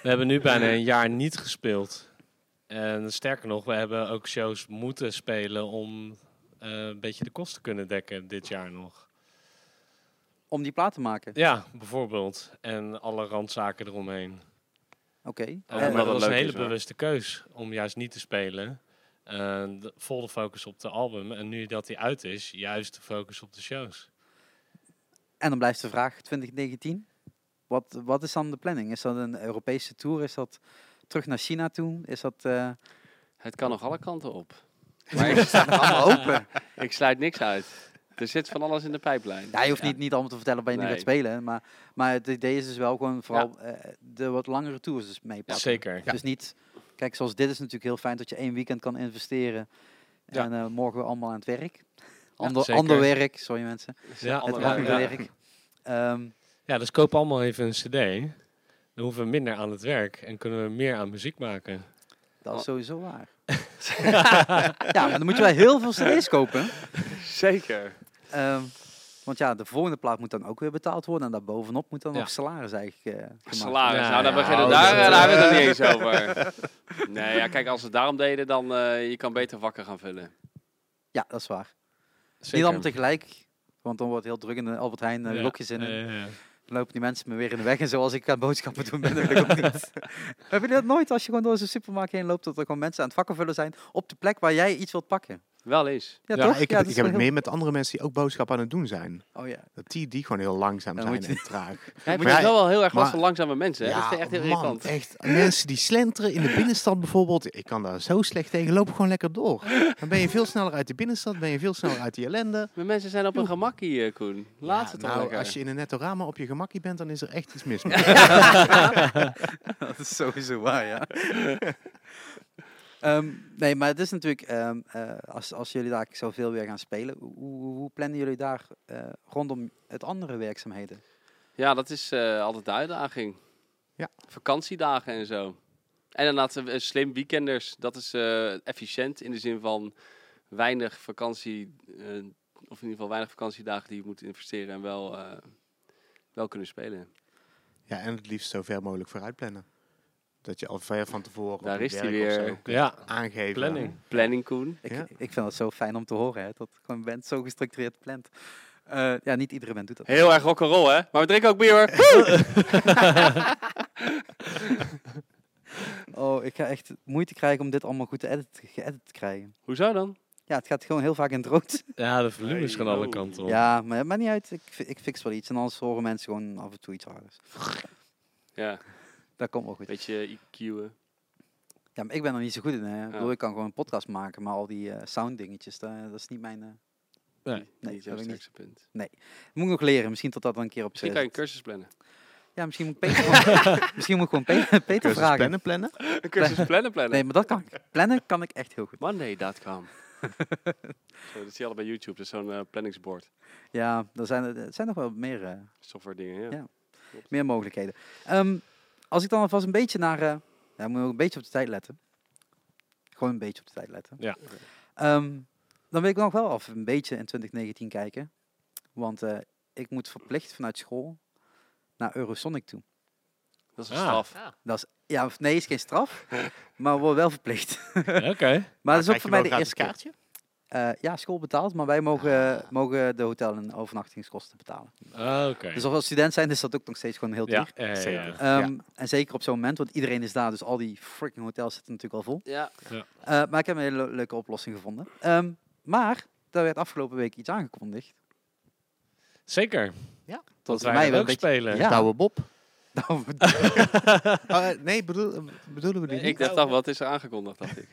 Speaker 5: we hebben nu bijna een jaar niet gespeeld. En sterker nog, we hebben ook shows moeten spelen om eh, een beetje de kosten te kunnen dekken dit jaar nog.
Speaker 1: Om die plaat te maken.
Speaker 5: Ja, bijvoorbeeld. En alle randzaken eromheen.
Speaker 1: Oké.
Speaker 5: En
Speaker 1: Eh,
Speaker 2: omdat
Speaker 5: dat
Speaker 2: het
Speaker 5: was een
Speaker 2: leuk
Speaker 5: hele
Speaker 2: is, hoor.
Speaker 5: bewuste keus om juist niet te spelen. Eh, de- vol de focus op de album. En nu dat die uit is, juist de focus op de shows.
Speaker 1: en dan blijft de vraag 2019. Wat, wat is dan de planning? Is dat een Europese tour? Is dat terug naar China toe? Is dat... eh
Speaker 2: Het kan nog alle kanten op. Maar ik,
Speaker 1: allemaal open.
Speaker 2: ik sluit niks uit. Er zit van alles in de pijplijn.
Speaker 1: Ja, je hoeft niet, niet allemaal te vertellen bij je
Speaker 2: Nee.
Speaker 1: niet gaat spelen. Maar, maar het idee is dus wel gewoon vooral eh, de wat langere tours dus meepakken.
Speaker 5: Zeker.
Speaker 1: Dus niet, kijk, zoals dit is natuurlijk heel fijn dat je één weekend kan investeren.
Speaker 5: Ja.
Speaker 1: En eh, morgen weer allemaal aan het werk. Ander,
Speaker 5: zeker.
Speaker 1: ander werk, sorry mensen.
Speaker 5: Ja,
Speaker 1: Het
Speaker 2: Ander
Speaker 1: andere
Speaker 2: werk, ja.
Speaker 1: werk. Ehm,
Speaker 5: Ja, dus koop allemaal even een cd. Dan hoeven we minder aan het werk en kunnen we meer aan muziek maken.
Speaker 1: dat is sowieso waar. ja, maar dan moet je wel heel veel cd's kopen.
Speaker 2: Zeker.
Speaker 1: Ehm, want ja, de volgende plaat moet dan ook weer betaald worden. En daarbovenop moet dan
Speaker 5: Ja.
Speaker 1: nog salaris eigenlijk eh, gemaakt worden.
Speaker 2: Salaris.
Speaker 5: Ja,
Speaker 2: nou, daar
Speaker 5: ja,
Speaker 2: beginnen
Speaker 5: oh,
Speaker 2: daar,
Speaker 5: dat,
Speaker 2: daar hebben we het nog niet eens over. Nee, ja, kijk, als we het daarom deden, dan eh je kan beter vakken gaan vullen.
Speaker 1: Ja, dat is waar.
Speaker 5: Zeker.
Speaker 1: Niet allemaal tegelijk, want dan wordt het heel druk in de Albert Heijn, eh,
Speaker 5: Ja,
Speaker 1: lokjes in.
Speaker 5: ja,
Speaker 1: en
Speaker 5: ja, ja.
Speaker 1: Dan lopen die mensen me weer in de weg. En zoals ik aan boodschappen doen ben, dat wil ik ook niet. Heb je dat nooit, als je gewoon door zo'n supermarkt heen loopt, dat er gewoon mensen aan het vakken vullen zijn op de plek waar jij iets wilt pakken?
Speaker 2: Wel eens.
Speaker 1: Ja,
Speaker 5: Ja,
Speaker 1: toch?
Speaker 4: Maar ik
Speaker 1: Ja, dat
Speaker 4: heb, ik
Speaker 1: is
Speaker 4: heb
Speaker 1: wel
Speaker 4: het mee met andere mensen die ook boodschappen aan het doen zijn.
Speaker 1: heel- Oh ja.
Speaker 4: Dat die, die gewoon heel langzaam
Speaker 1: Dan
Speaker 4: zijn
Speaker 1: moet je-
Speaker 4: en traag.
Speaker 2: Ja, ik
Speaker 4: Maar
Speaker 2: vind het
Speaker 4: ja,
Speaker 2: wel wel heel erg last
Speaker 4: maar-
Speaker 2: van langzame mensen. Hè? dat is echt heel
Speaker 4: man,
Speaker 2: irritant.
Speaker 4: echt. Mensen die slenteren in de binnenstad bijvoorbeeld. Ik kan daar zo slecht tegen. Loop gewoon lekker door. Dan ben je veel sneller uit de binnenstad. Ben je veel sneller uit die ellende.
Speaker 2: Maar mensen zijn op hun gemak hier, Koen. Laat het toch
Speaker 4: nou,
Speaker 2: lekker.
Speaker 4: Als je in een nettorama op je gemakkie bent, dan is er echt iets mis mee.
Speaker 1: dat is sowieso waar, ja. Ehm, nee, maar het is natuurlijk, ehm, eh, als, als jullie daar zoveel weer gaan spelen, hoe, hoe, hoe plannen jullie daar eh, rondom het andere werkzaamheden?
Speaker 2: Ja, dat is eh, altijd de uitdaging.
Speaker 4: Ja.
Speaker 2: Vakantiedagen en zo. En inderdaad, eh, slim weekenders. Dat is eh, efficiënt in de zin van weinig vakantie, eh, of in ieder geval weinig vakantiedagen die je moet investeren en wel, eh, wel kunnen spelen.
Speaker 4: ja, en het liefst zo ver mogelijk vooruit plannen. Dat je al ver van tevoren
Speaker 2: Daar
Speaker 4: op het
Speaker 2: is die
Speaker 4: werk of
Speaker 2: weer.
Speaker 4: zo kunt
Speaker 5: Ja,
Speaker 4: aangeven.
Speaker 5: planning.
Speaker 2: Planning, Koen.
Speaker 1: Ik,
Speaker 4: Ja.
Speaker 1: ik vind dat zo fijn om te horen, hè, dat gewoon bent zo gestructureerd plant. Eh, ja, niet iedere band doet dat.
Speaker 2: Heel erg rock'n'roll, hè? Maar we drinken ook bier, hoor.
Speaker 1: Oh, ik ga echt moeite krijgen om dit allemaal goed te edit, geëdit te krijgen.
Speaker 2: Hoezo dan?
Speaker 1: Ja, het gaat gewoon heel vaak in het rood.
Speaker 5: ja de volume is
Speaker 2: Hey,
Speaker 5: gaan alle
Speaker 2: oh.
Speaker 5: kanten op.
Speaker 1: Ja, maar het maakt niet uit. Ik, fi- ik fix wel iets. En anders horen mensen gewoon af en toe iets harders.
Speaker 2: Ja,
Speaker 1: Dat komt wel goed.
Speaker 2: beetje IQ'en.
Speaker 1: Ja, maar ik ben er niet zo goed in. Hè. Ik,
Speaker 2: Ja.
Speaker 1: bedoel, ik kan gewoon een podcast maken, maar al die eh sounddingetjes, da- dat is niet mijn... eh,
Speaker 5: Nee.
Speaker 1: Nee,
Speaker 2: niet
Speaker 1: dat
Speaker 2: jouw
Speaker 1: heb ik niet.
Speaker 2: sterkste punt.
Speaker 1: Moet ik nog leren. Misschien tot dat dan een keer op
Speaker 2: Misschien kan
Speaker 1: zes.
Speaker 2: je een cursus plannen.
Speaker 1: Ja, misschien moet ik Peter, gewoon- misschien moet ik gewoon Pe- Peter,
Speaker 4: Cursus
Speaker 1: vragen.
Speaker 4: plannen, plannen.
Speaker 2: Een cursus plannen, plannen.
Speaker 1: Nee, maar dat kan ik. Plannen kan ik echt heel goed.
Speaker 2: Monday.com. Zo, dat zie je al bij YouTube. Dat is zo'n eh, planningsboard.
Speaker 1: Ja, er zijn, er er zijn nog wel meer... eh,
Speaker 2: Software dingen, ja.
Speaker 1: Ja. meer mogelijkheden. Ehm, als ik dan alvast een beetje naar... eh ja, moet je ook een beetje op de tijd letten. Gewoon een beetje op de tijd letten.
Speaker 5: Ja.
Speaker 1: Ehm, dan wil ik nog wel af een beetje in 2019 kijken. Want eh, ik moet verplicht vanuit school naar Eurosonic toe.
Speaker 2: Dat is een
Speaker 5: Ah.
Speaker 2: straf.
Speaker 1: Dat is, ja, of nee, is geen straf, maar we wel verplicht.
Speaker 5: Oké.
Speaker 1: Maar dat is ook
Speaker 4: Krijg
Speaker 1: voor
Speaker 4: je
Speaker 1: mij
Speaker 4: wel
Speaker 1: de
Speaker 4: gratis
Speaker 1: eerste keer.
Speaker 4: kaartje.
Speaker 1: Eh, ja, school betaalt, maar wij mogen, mogen de hotel- en overnachtingskosten betalen.
Speaker 5: Ah, Oké.
Speaker 1: Dus als we student zijn, is dat ook nog steeds gewoon heel duur.
Speaker 5: Ja, ja, ja, ja.
Speaker 4: Zeker.
Speaker 1: Ehm, En zeker op zo'n moment, want iedereen is daar, dus al die freaking hotels zitten natuurlijk al vol.
Speaker 2: Ja.
Speaker 1: Eh, maar ik heb een hele le- leuke oplossing gevonden. Ehm, maar daar werd afgelopen week iets aangekondigd.
Speaker 5: Zeker.
Speaker 1: Dat
Speaker 5: wij dat ook spelen.
Speaker 1: Ja,
Speaker 4: Douwe Bob.
Speaker 1: nou,
Speaker 4: Oh, eh, nee, bedoel, bedoelen we die
Speaker 2: Ik
Speaker 4: niet? Nou,
Speaker 2: dacht al, wat is er aangekondigd, dacht ik.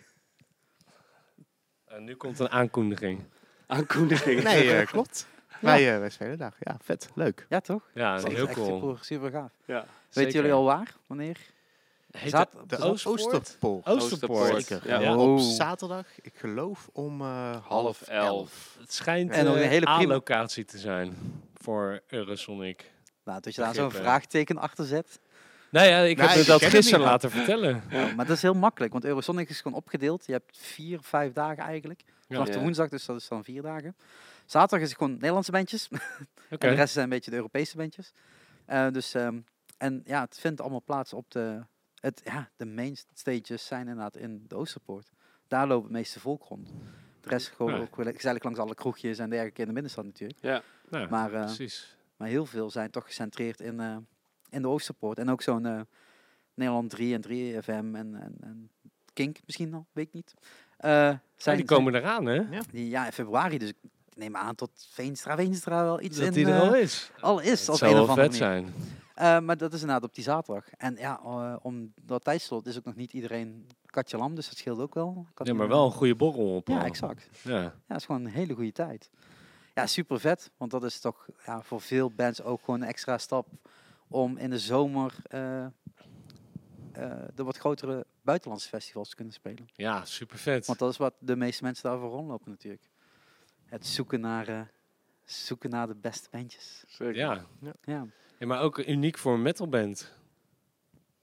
Speaker 5: En nu komt een aankondiging.
Speaker 2: Aankondiging.
Speaker 4: Nee, eh, klopt. Wij, eh, wij spelen daar. Ja, vet. Leuk.
Speaker 1: ja, toch?
Speaker 5: Ja,
Speaker 1: Dat is
Speaker 5: heel
Speaker 1: echt
Speaker 5: cool.
Speaker 1: super, super gaaf.
Speaker 2: Ja.
Speaker 1: Weten jullie al waar? Wanneer?
Speaker 5: Heet
Speaker 1: Zaad-
Speaker 5: dat-
Speaker 4: De
Speaker 5: Oosterpoort?
Speaker 4: Oosterpoort.
Speaker 5: Oosterpoort.
Speaker 4: Zeker.
Speaker 2: Ja.
Speaker 5: Ja.
Speaker 1: Oh.
Speaker 4: Op zaterdag, ik geloof om eh,
Speaker 2: Half
Speaker 4: half
Speaker 2: elf.
Speaker 4: elf.
Speaker 5: Het schijnt
Speaker 1: En nog een
Speaker 5: een
Speaker 1: hele
Speaker 5: hele
Speaker 1: prima-
Speaker 5: A-locatie te zijn voor Eurosonic.
Speaker 1: Nou, dat je daar zo'n
Speaker 5: Begrippen.
Speaker 1: vraagteken achter zet.
Speaker 5: Nou ja, ik heb
Speaker 4: Nee,
Speaker 5: me
Speaker 4: ik
Speaker 5: dat
Speaker 4: ken het
Speaker 5: gisteren
Speaker 4: niet.
Speaker 5: laten vertellen.
Speaker 1: Ja, maar dat is heel makkelijk, want Eurosonic is gewoon opgedeeld. Je hebt vier, vijf dagen eigenlijk. Vanaf de
Speaker 2: Ja.
Speaker 1: woensdag, dus dat is dan vier dagen. Zaterdag is het gewoon Nederlandse bandjes.
Speaker 5: Oké.
Speaker 1: En de rest zijn een beetje de Europese bandjes. Eh, dus, ehm, en ja, het vindt allemaal plaats op de... Het, ja, de main stages zijn inderdaad in de Oosterpoort. Daar lopen het meeste volk rond. De rest gewoon
Speaker 5: Ja.
Speaker 1: ook wel gezellig langs alle kroegjes en dergelijke in de binnenstad natuurlijk.
Speaker 5: Nou,
Speaker 1: Maar, eh,
Speaker 5: precies.
Speaker 1: maar heel veel zijn toch gecentreerd in, eh, in de Oosterpoort. En ook zo'n eh, Nederland 3 en 3FM en, en, en Kink misschien al, weet ik niet. Eh,
Speaker 5: Zij
Speaker 1: zijn,
Speaker 5: die komen eraan, hè?
Speaker 1: zijn- die- ja, in februari, dus ik neem aan tot Veenstra, Veenstra wel iets in...
Speaker 5: Dat die er
Speaker 1: eh,
Speaker 5: al is.
Speaker 1: al is,
Speaker 5: Het
Speaker 1: op
Speaker 5: zou
Speaker 1: een of
Speaker 5: wel
Speaker 1: andere
Speaker 5: vet
Speaker 1: manier.
Speaker 5: zijn.
Speaker 1: Eh, maar dat is inderdaad op die zaterdag. En ja, eh, om dat tijdslot is ook nog niet iedereen katje lam, dus dat scheelt ook wel. Ik had
Speaker 5: Ja, maar
Speaker 1: iemand-
Speaker 5: wel een goede borrel op.
Speaker 1: Ja,
Speaker 5: al.
Speaker 1: exact.
Speaker 5: Ja.
Speaker 1: Ja, het is gewoon een hele goede tijd. Ja, super vet. Want dat is toch ja, voor veel bands ook gewoon een extra stap om in de zomer eh, eh, de wat grotere buitenlandse festivals te kunnen spelen.
Speaker 5: Ja, super vet.
Speaker 1: Want dat is wat de meeste mensen daarvoor rondlopen natuurlijk. Het zoeken naar, eh, zoeken naar de beste bandjes.
Speaker 2: Zeker.
Speaker 5: Ja.
Speaker 1: Ja.
Speaker 5: Ja, maar ook uniek voor een metalband.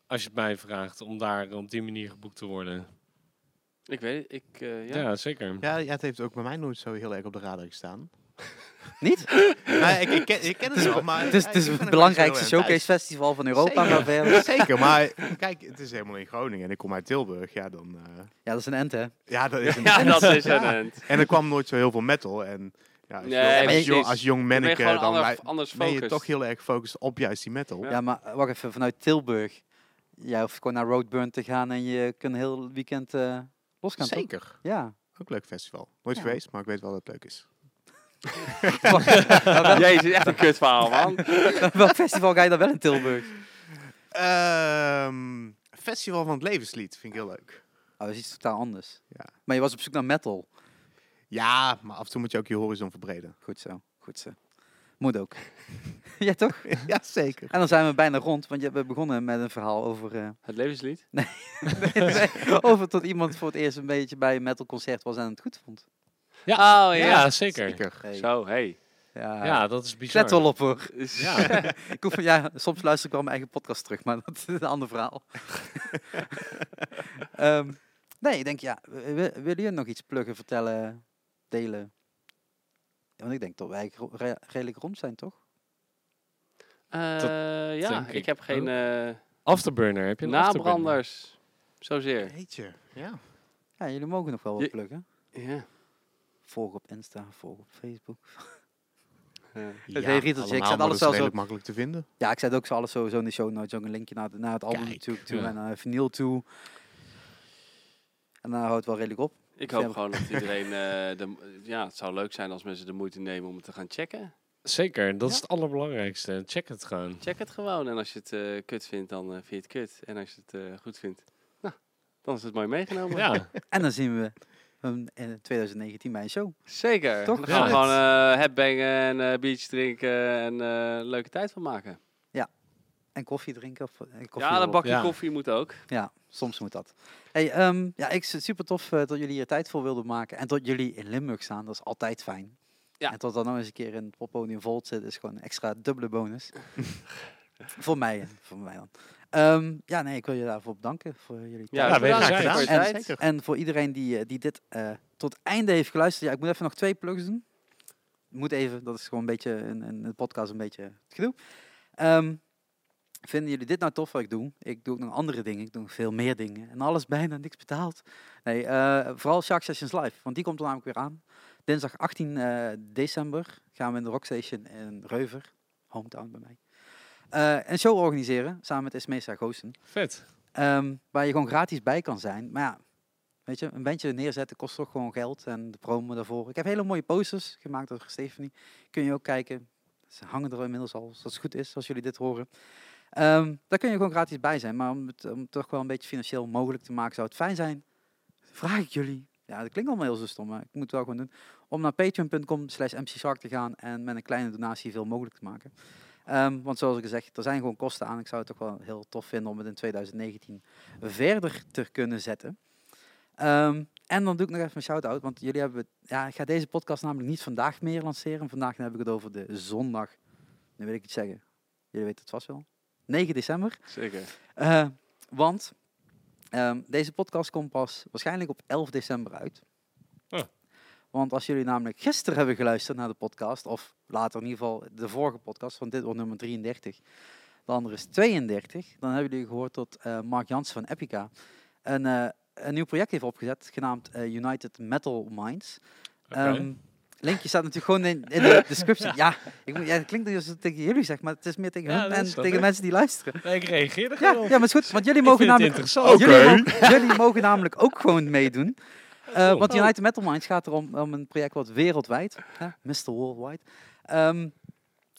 Speaker 5: Als je het mij vraagt, om daar op die manier geboekt te worden.
Speaker 2: Ik weet het, ik, eh,
Speaker 5: Ja,
Speaker 2: ja.
Speaker 5: zeker.
Speaker 4: Ja, ja, het heeft ook bij mij nooit zo heel erg op de radar gestaan.
Speaker 1: Niet?
Speaker 4: Nee, ik, ik, ken, ik ken het wel, maar...
Speaker 1: Het is,
Speaker 4: ja,
Speaker 1: het is
Speaker 4: ik ben er
Speaker 1: het
Speaker 4: niet
Speaker 1: belangrijkste
Speaker 4: zo heel erg
Speaker 1: showcase
Speaker 4: thuis.
Speaker 1: festival van Europa.
Speaker 4: Zeker.
Speaker 1: Maar verder-
Speaker 4: Zeker, maar kijk, het is helemaal in Groningen en ik kom uit Tilburg, ja dan... eh,
Speaker 1: ja, dat is een end hè.
Speaker 4: ja, dat is een
Speaker 2: Ja, dat is
Speaker 4: Ja.
Speaker 2: een end.
Speaker 4: En er kwam nooit zo heel veel metal en... Ja, als,
Speaker 2: Nee,
Speaker 4: jong, als,
Speaker 2: precies.
Speaker 4: jong, als jong
Speaker 2: Dan ben je
Speaker 4: manneke,
Speaker 2: eh, gewoon
Speaker 4: eh, dan
Speaker 2: ander-
Speaker 4: wij-
Speaker 2: anders
Speaker 4: ben je
Speaker 2: focus.
Speaker 4: toch heel erg gefocust op juist die metal.
Speaker 1: Ja, maar eh, wacht even, vanuit Tilburg. Jij hoeft gewoon naar Roadburn te gaan en je kunt een heel weekend eh, los gaan. toch?
Speaker 4: Zeker.
Speaker 1: Ja.
Speaker 4: Ook een leuk festival. Nooit
Speaker 1: Ja.
Speaker 4: geweest, maar ik weet wel dat het leuk is.
Speaker 2: Jezus, echt een kutverhaal, man.
Speaker 1: Welk festival ga je dan wel in Tilburg?
Speaker 4: Ehm, festival van het Levenslied vind ik heel leuk.
Speaker 1: Oh, dat is iets totaal anders.
Speaker 4: Ja.
Speaker 1: Maar je was op zoek naar metal.
Speaker 4: Ja, maar af en toe moet je ook je horizon verbreden.
Speaker 1: Goed zo, goed zo. Moet ook. ja, toch?
Speaker 4: ja, zeker.
Speaker 1: En dan zijn we bijna rond, want je- we begonnen met een verhaal over... eh,
Speaker 2: Het levenslied?
Speaker 1: nee, over tot iemand voor het eerst een beetje bij een metalconcert was en het goed vond.
Speaker 5: Ja,
Speaker 2: Oh, ja.
Speaker 5: ja, zeker.
Speaker 4: Zeker.
Speaker 1: Hey.
Speaker 2: Zo, hey.
Speaker 1: Ja,
Speaker 5: Ja, dat is
Speaker 1: ik
Speaker 5: bizar.
Speaker 1: let wel op hoor.
Speaker 2: Dus,
Speaker 5: Ja.
Speaker 1: Ik hoef, ja, soms luister ik wel mijn eigen podcast terug, maar dat is een ander verhaal. Ehm, nee, ik denk, ja, wi- wi- wil je nog iets pluggen, vertellen, delen? Ja, Want ik denk dat wij eigenlijk ro- re- redelijk rond zijn, toch?
Speaker 2: Eh, ja,
Speaker 5: denk
Speaker 2: ik
Speaker 5: ik
Speaker 2: heb geen
Speaker 5: ook.
Speaker 2: eh,
Speaker 5: Afterburner, heb je een afterburner?
Speaker 2: nabranders. Zozeer.
Speaker 4: Jeetje. Ja.
Speaker 1: Ja, jullie mogen nog wel wat
Speaker 2: Je-
Speaker 1: pluggen.
Speaker 2: Ja.
Speaker 1: Volg op Insta, volg op Facebook.
Speaker 2: Ja.
Speaker 1: Het heet Rieteltje, ik zet
Speaker 4: allemaal, maar
Speaker 1: alles
Speaker 4: dat is
Speaker 1: zelfs
Speaker 4: redelijk makkelijk te vinden.
Speaker 1: Ja, ik zet ook zo alles sowieso in de show notes. Ook een linkje naar, de- naar het album
Speaker 4: Kijk,
Speaker 1: natuurlijk toe
Speaker 5: ja.
Speaker 1: en naar vinyl toe. En dan houdt het wel redelijk op.
Speaker 2: Ik hoop
Speaker 1: Ja.
Speaker 2: gewoon dat iedereen... eh, de, ja, het zou leuk zijn als mensen de moeite nemen om het te gaan checken.
Speaker 5: Zeker, dat is het allerbelangrijkste. Check het gewoon.
Speaker 2: Check het gewoon. En als je het eh, kut vindt, dan eh, vind je het kut. En als je het eh, goed vindt, nou, dan is het mooi meegenomen.
Speaker 5: Ja,
Speaker 1: En dan zien we hem in 2019 bij een show.
Speaker 2: Zeker.
Speaker 1: Toch?
Speaker 2: Dan
Speaker 5: Ja.
Speaker 2: gaan we gewoon eh headbangen en eh biertje drinken en eh, leuke tijd van maken.
Speaker 1: En koffie drinken. Of, eh, koffie
Speaker 2: ja,
Speaker 1: erop.
Speaker 2: een bakje
Speaker 5: Ja.
Speaker 2: koffie moet ook.
Speaker 1: Ja, soms moet dat. Hey, ehm, ja, ik vind super tof eh, dat jullie hier tijd voor wilden maken. En dat jullie in Limburg staan, dat is altijd fijn.
Speaker 2: Ja.
Speaker 1: En dat dan nog eens een keer in het poppodium Volt zit, is gewoon een extra dubbele bonus. voor mij, hè, voor mij dan. Ehm, ja, nee, ik wil je daarvoor bedanken voor jullie
Speaker 2: Ja,
Speaker 1: tijd.
Speaker 5: Ja, weet je,
Speaker 2: bedankt
Speaker 5: zij-
Speaker 2: voor je
Speaker 4: Ja,
Speaker 2: tijd.
Speaker 4: zeker.
Speaker 1: En voor iedereen die, eh, die dit eh, tot het einde heeft geluisterd, ja, ik moet even nog twee plugs doen. Moet even, dat is gewoon een beetje in, in de podcast een beetje het gedoe. Ehm, vinden jullie dit nou tof wat ik doe? Ik doe ook nog andere dingen, ik doe nog veel meer dingen. En alles bijna niks betaald. Nee, eh, vooral Shark Sessions Live, want die komt er namelijk weer aan. Dinsdag 18 eh, december gaan we in de Rockstation in Reuver, hometown bij mij, eh, een show organiseren samen met Esmesa Goosen.
Speaker 5: vet.
Speaker 1: Ehm, waar je gewoon gratis bij kan zijn. Maar ja, weet je, een bandje neerzetten kost toch gewoon geld en de promo daarvoor. Ik heb hele mooie posters gemaakt door Stephanie. Kun je ook kijken. Ze hangen er inmiddels al, als het goed is, als jullie dit horen. Ehm, daar kun je gewoon gratis bij zijn. Maar om het, om het toch wel een beetje financieel mogelijk te maken, zou het fijn zijn. Vraag ik jullie. Ja, dat klinkt allemaal heel zo stom, maar ik moet het wel gewoon doen. Om naar patreon.com slash mcshark te gaan en met een kleine donatie veel mogelijk te maken. Ehm, want zoals ik gezegd, er zijn gewoon kosten aan. Ik zou het toch wel heel tof vinden om het in 2019 verder te kunnen zetten. Ehm, en dan doe ik nog even een shout-out, want jullie hebben... Ja, ik ga deze podcast namelijk niet vandaag meer lanceren. Vandaag heb ik het over de zondag. Nu wil ik iets zeggen. Jullie weten het vast wel. 9 december.
Speaker 2: Zeker.
Speaker 1: Eh, want ehm, deze podcast komt pas waarschijnlijk op 11 december uit.
Speaker 5: Oh.
Speaker 1: Want als jullie namelijk gisteren hebben geluisterd naar de podcast, of later in ieder geval de vorige podcast, want dit wordt nummer 33, de andere is 32, dan hebben jullie gehoord dat eh, Mark Jansen van Epica een, eh, een nieuw project heeft opgezet, genaamd eh, United Metal Minds.
Speaker 5: Oké.
Speaker 1: Ehm, linkje staat natuurlijk gewoon in, in de descriptie. Ja, ik moet, ja, het klinkt alsof het tegen jullie zeg, maar het is meer tegen
Speaker 5: Ja,
Speaker 1: hun
Speaker 5: dat
Speaker 1: en
Speaker 5: snap
Speaker 1: tegen
Speaker 5: ik.
Speaker 1: mensen die luisteren.
Speaker 5: Nee, ik reageerde
Speaker 1: Ja,
Speaker 5: gewoon.
Speaker 1: ja, maar het is goed, want jullie
Speaker 5: ik
Speaker 1: mogen
Speaker 5: vind het
Speaker 1: namelijk... Oh.
Speaker 5: interessant.
Speaker 1: Jullie, mogen, jullie mogen namelijk ook gewoon meedoen. Eh,
Speaker 5: Oh.
Speaker 1: want United Metal Minds gaat er om, om een project wat wereldwijd, hè, Mr. Worldwide, ehm,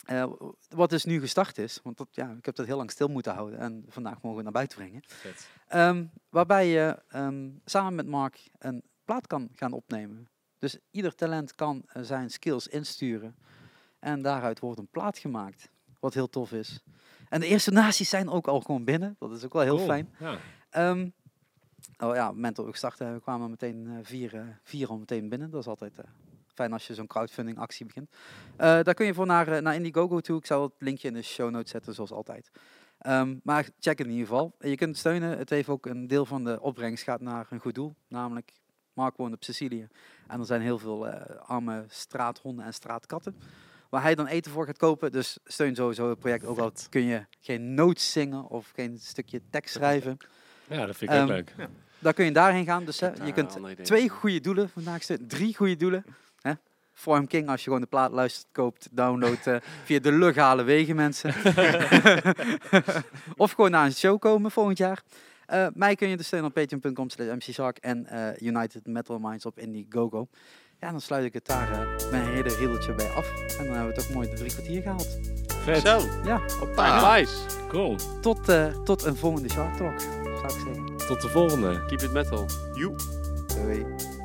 Speaker 1: eh, wat dus nu gestart is. Want dat, ja, ik heb dat heel lang stil moeten houden en vandaag mogen we het naar buiten brengen.
Speaker 5: Vet.
Speaker 1: Ehm, waarbij je ehm, samen met Mark een plaat kan gaan opnemen. Dus ieder talent kan eh, zijn skills insturen. En daaruit wordt een plaat gemaakt. Wat heel tof is. En de eerste naties zijn ook al gewoon binnen. Dat is ook wel heel
Speaker 5: Cool,
Speaker 1: fijn.
Speaker 5: Ja.
Speaker 1: Ehm, oh ja, op het moment dat we starten eh, kwamen er meteen eh, vier, eh, vier al meteen binnen. Dat is altijd eh, fijn als je zo'n crowdfunding actie begint. Eh, daar kun je voor naar, eh, naar Indiegogo toe. Ik zal het linkje in de show notes zetten, zoals altijd. Ehm, maar check het in ieder geval. Je kunt het steunen. Het heeft ook een deel van de opbrengst gaat naar een goed doel. Namelijk, Mark woont op Sicilië. En er zijn heel veel eh, arme straathonden en straatkatten. Waar hij dan eten voor gaat kopen. Dus steun sowieso het project. Ook al kun je geen notes zingen of geen stukje tekst schrijven.
Speaker 5: ja, dat vind ik ook
Speaker 1: Ehm,
Speaker 5: leuk.
Speaker 1: Dan kun je daarheen gaan. Dus hè,
Speaker 2: Daar
Speaker 1: je kunt
Speaker 2: al nee, denk
Speaker 1: twee
Speaker 2: ik.
Speaker 1: goede doelen vandaag steunen. Drie goede doelen. Hè? Form King, als je gewoon de plaat luistert, koopt, download eh, via de legale wegen, mensen. of gewoon naar een show komen volgend jaar. Eh, mij kun je dus steunen op patreon.com slash mczak en eh, United Metal Minds op Indiegogo. Ja, dan sluit ik het daar eh, mijn hele riedeltje bij af. En dan hebben we het ook mooi de drie kwartier gehaald.
Speaker 5: Vet,
Speaker 2: Zo.
Speaker 1: Ja. Ah.
Speaker 4: Ah,
Speaker 2: Hoppa. Nice.
Speaker 5: cool.
Speaker 1: Tot, eh, tot een volgende Shark Talk, zou ik zeggen.
Speaker 5: Tot de volgende.
Speaker 2: Keep it metal.
Speaker 4: Joe.
Speaker 1: Doei.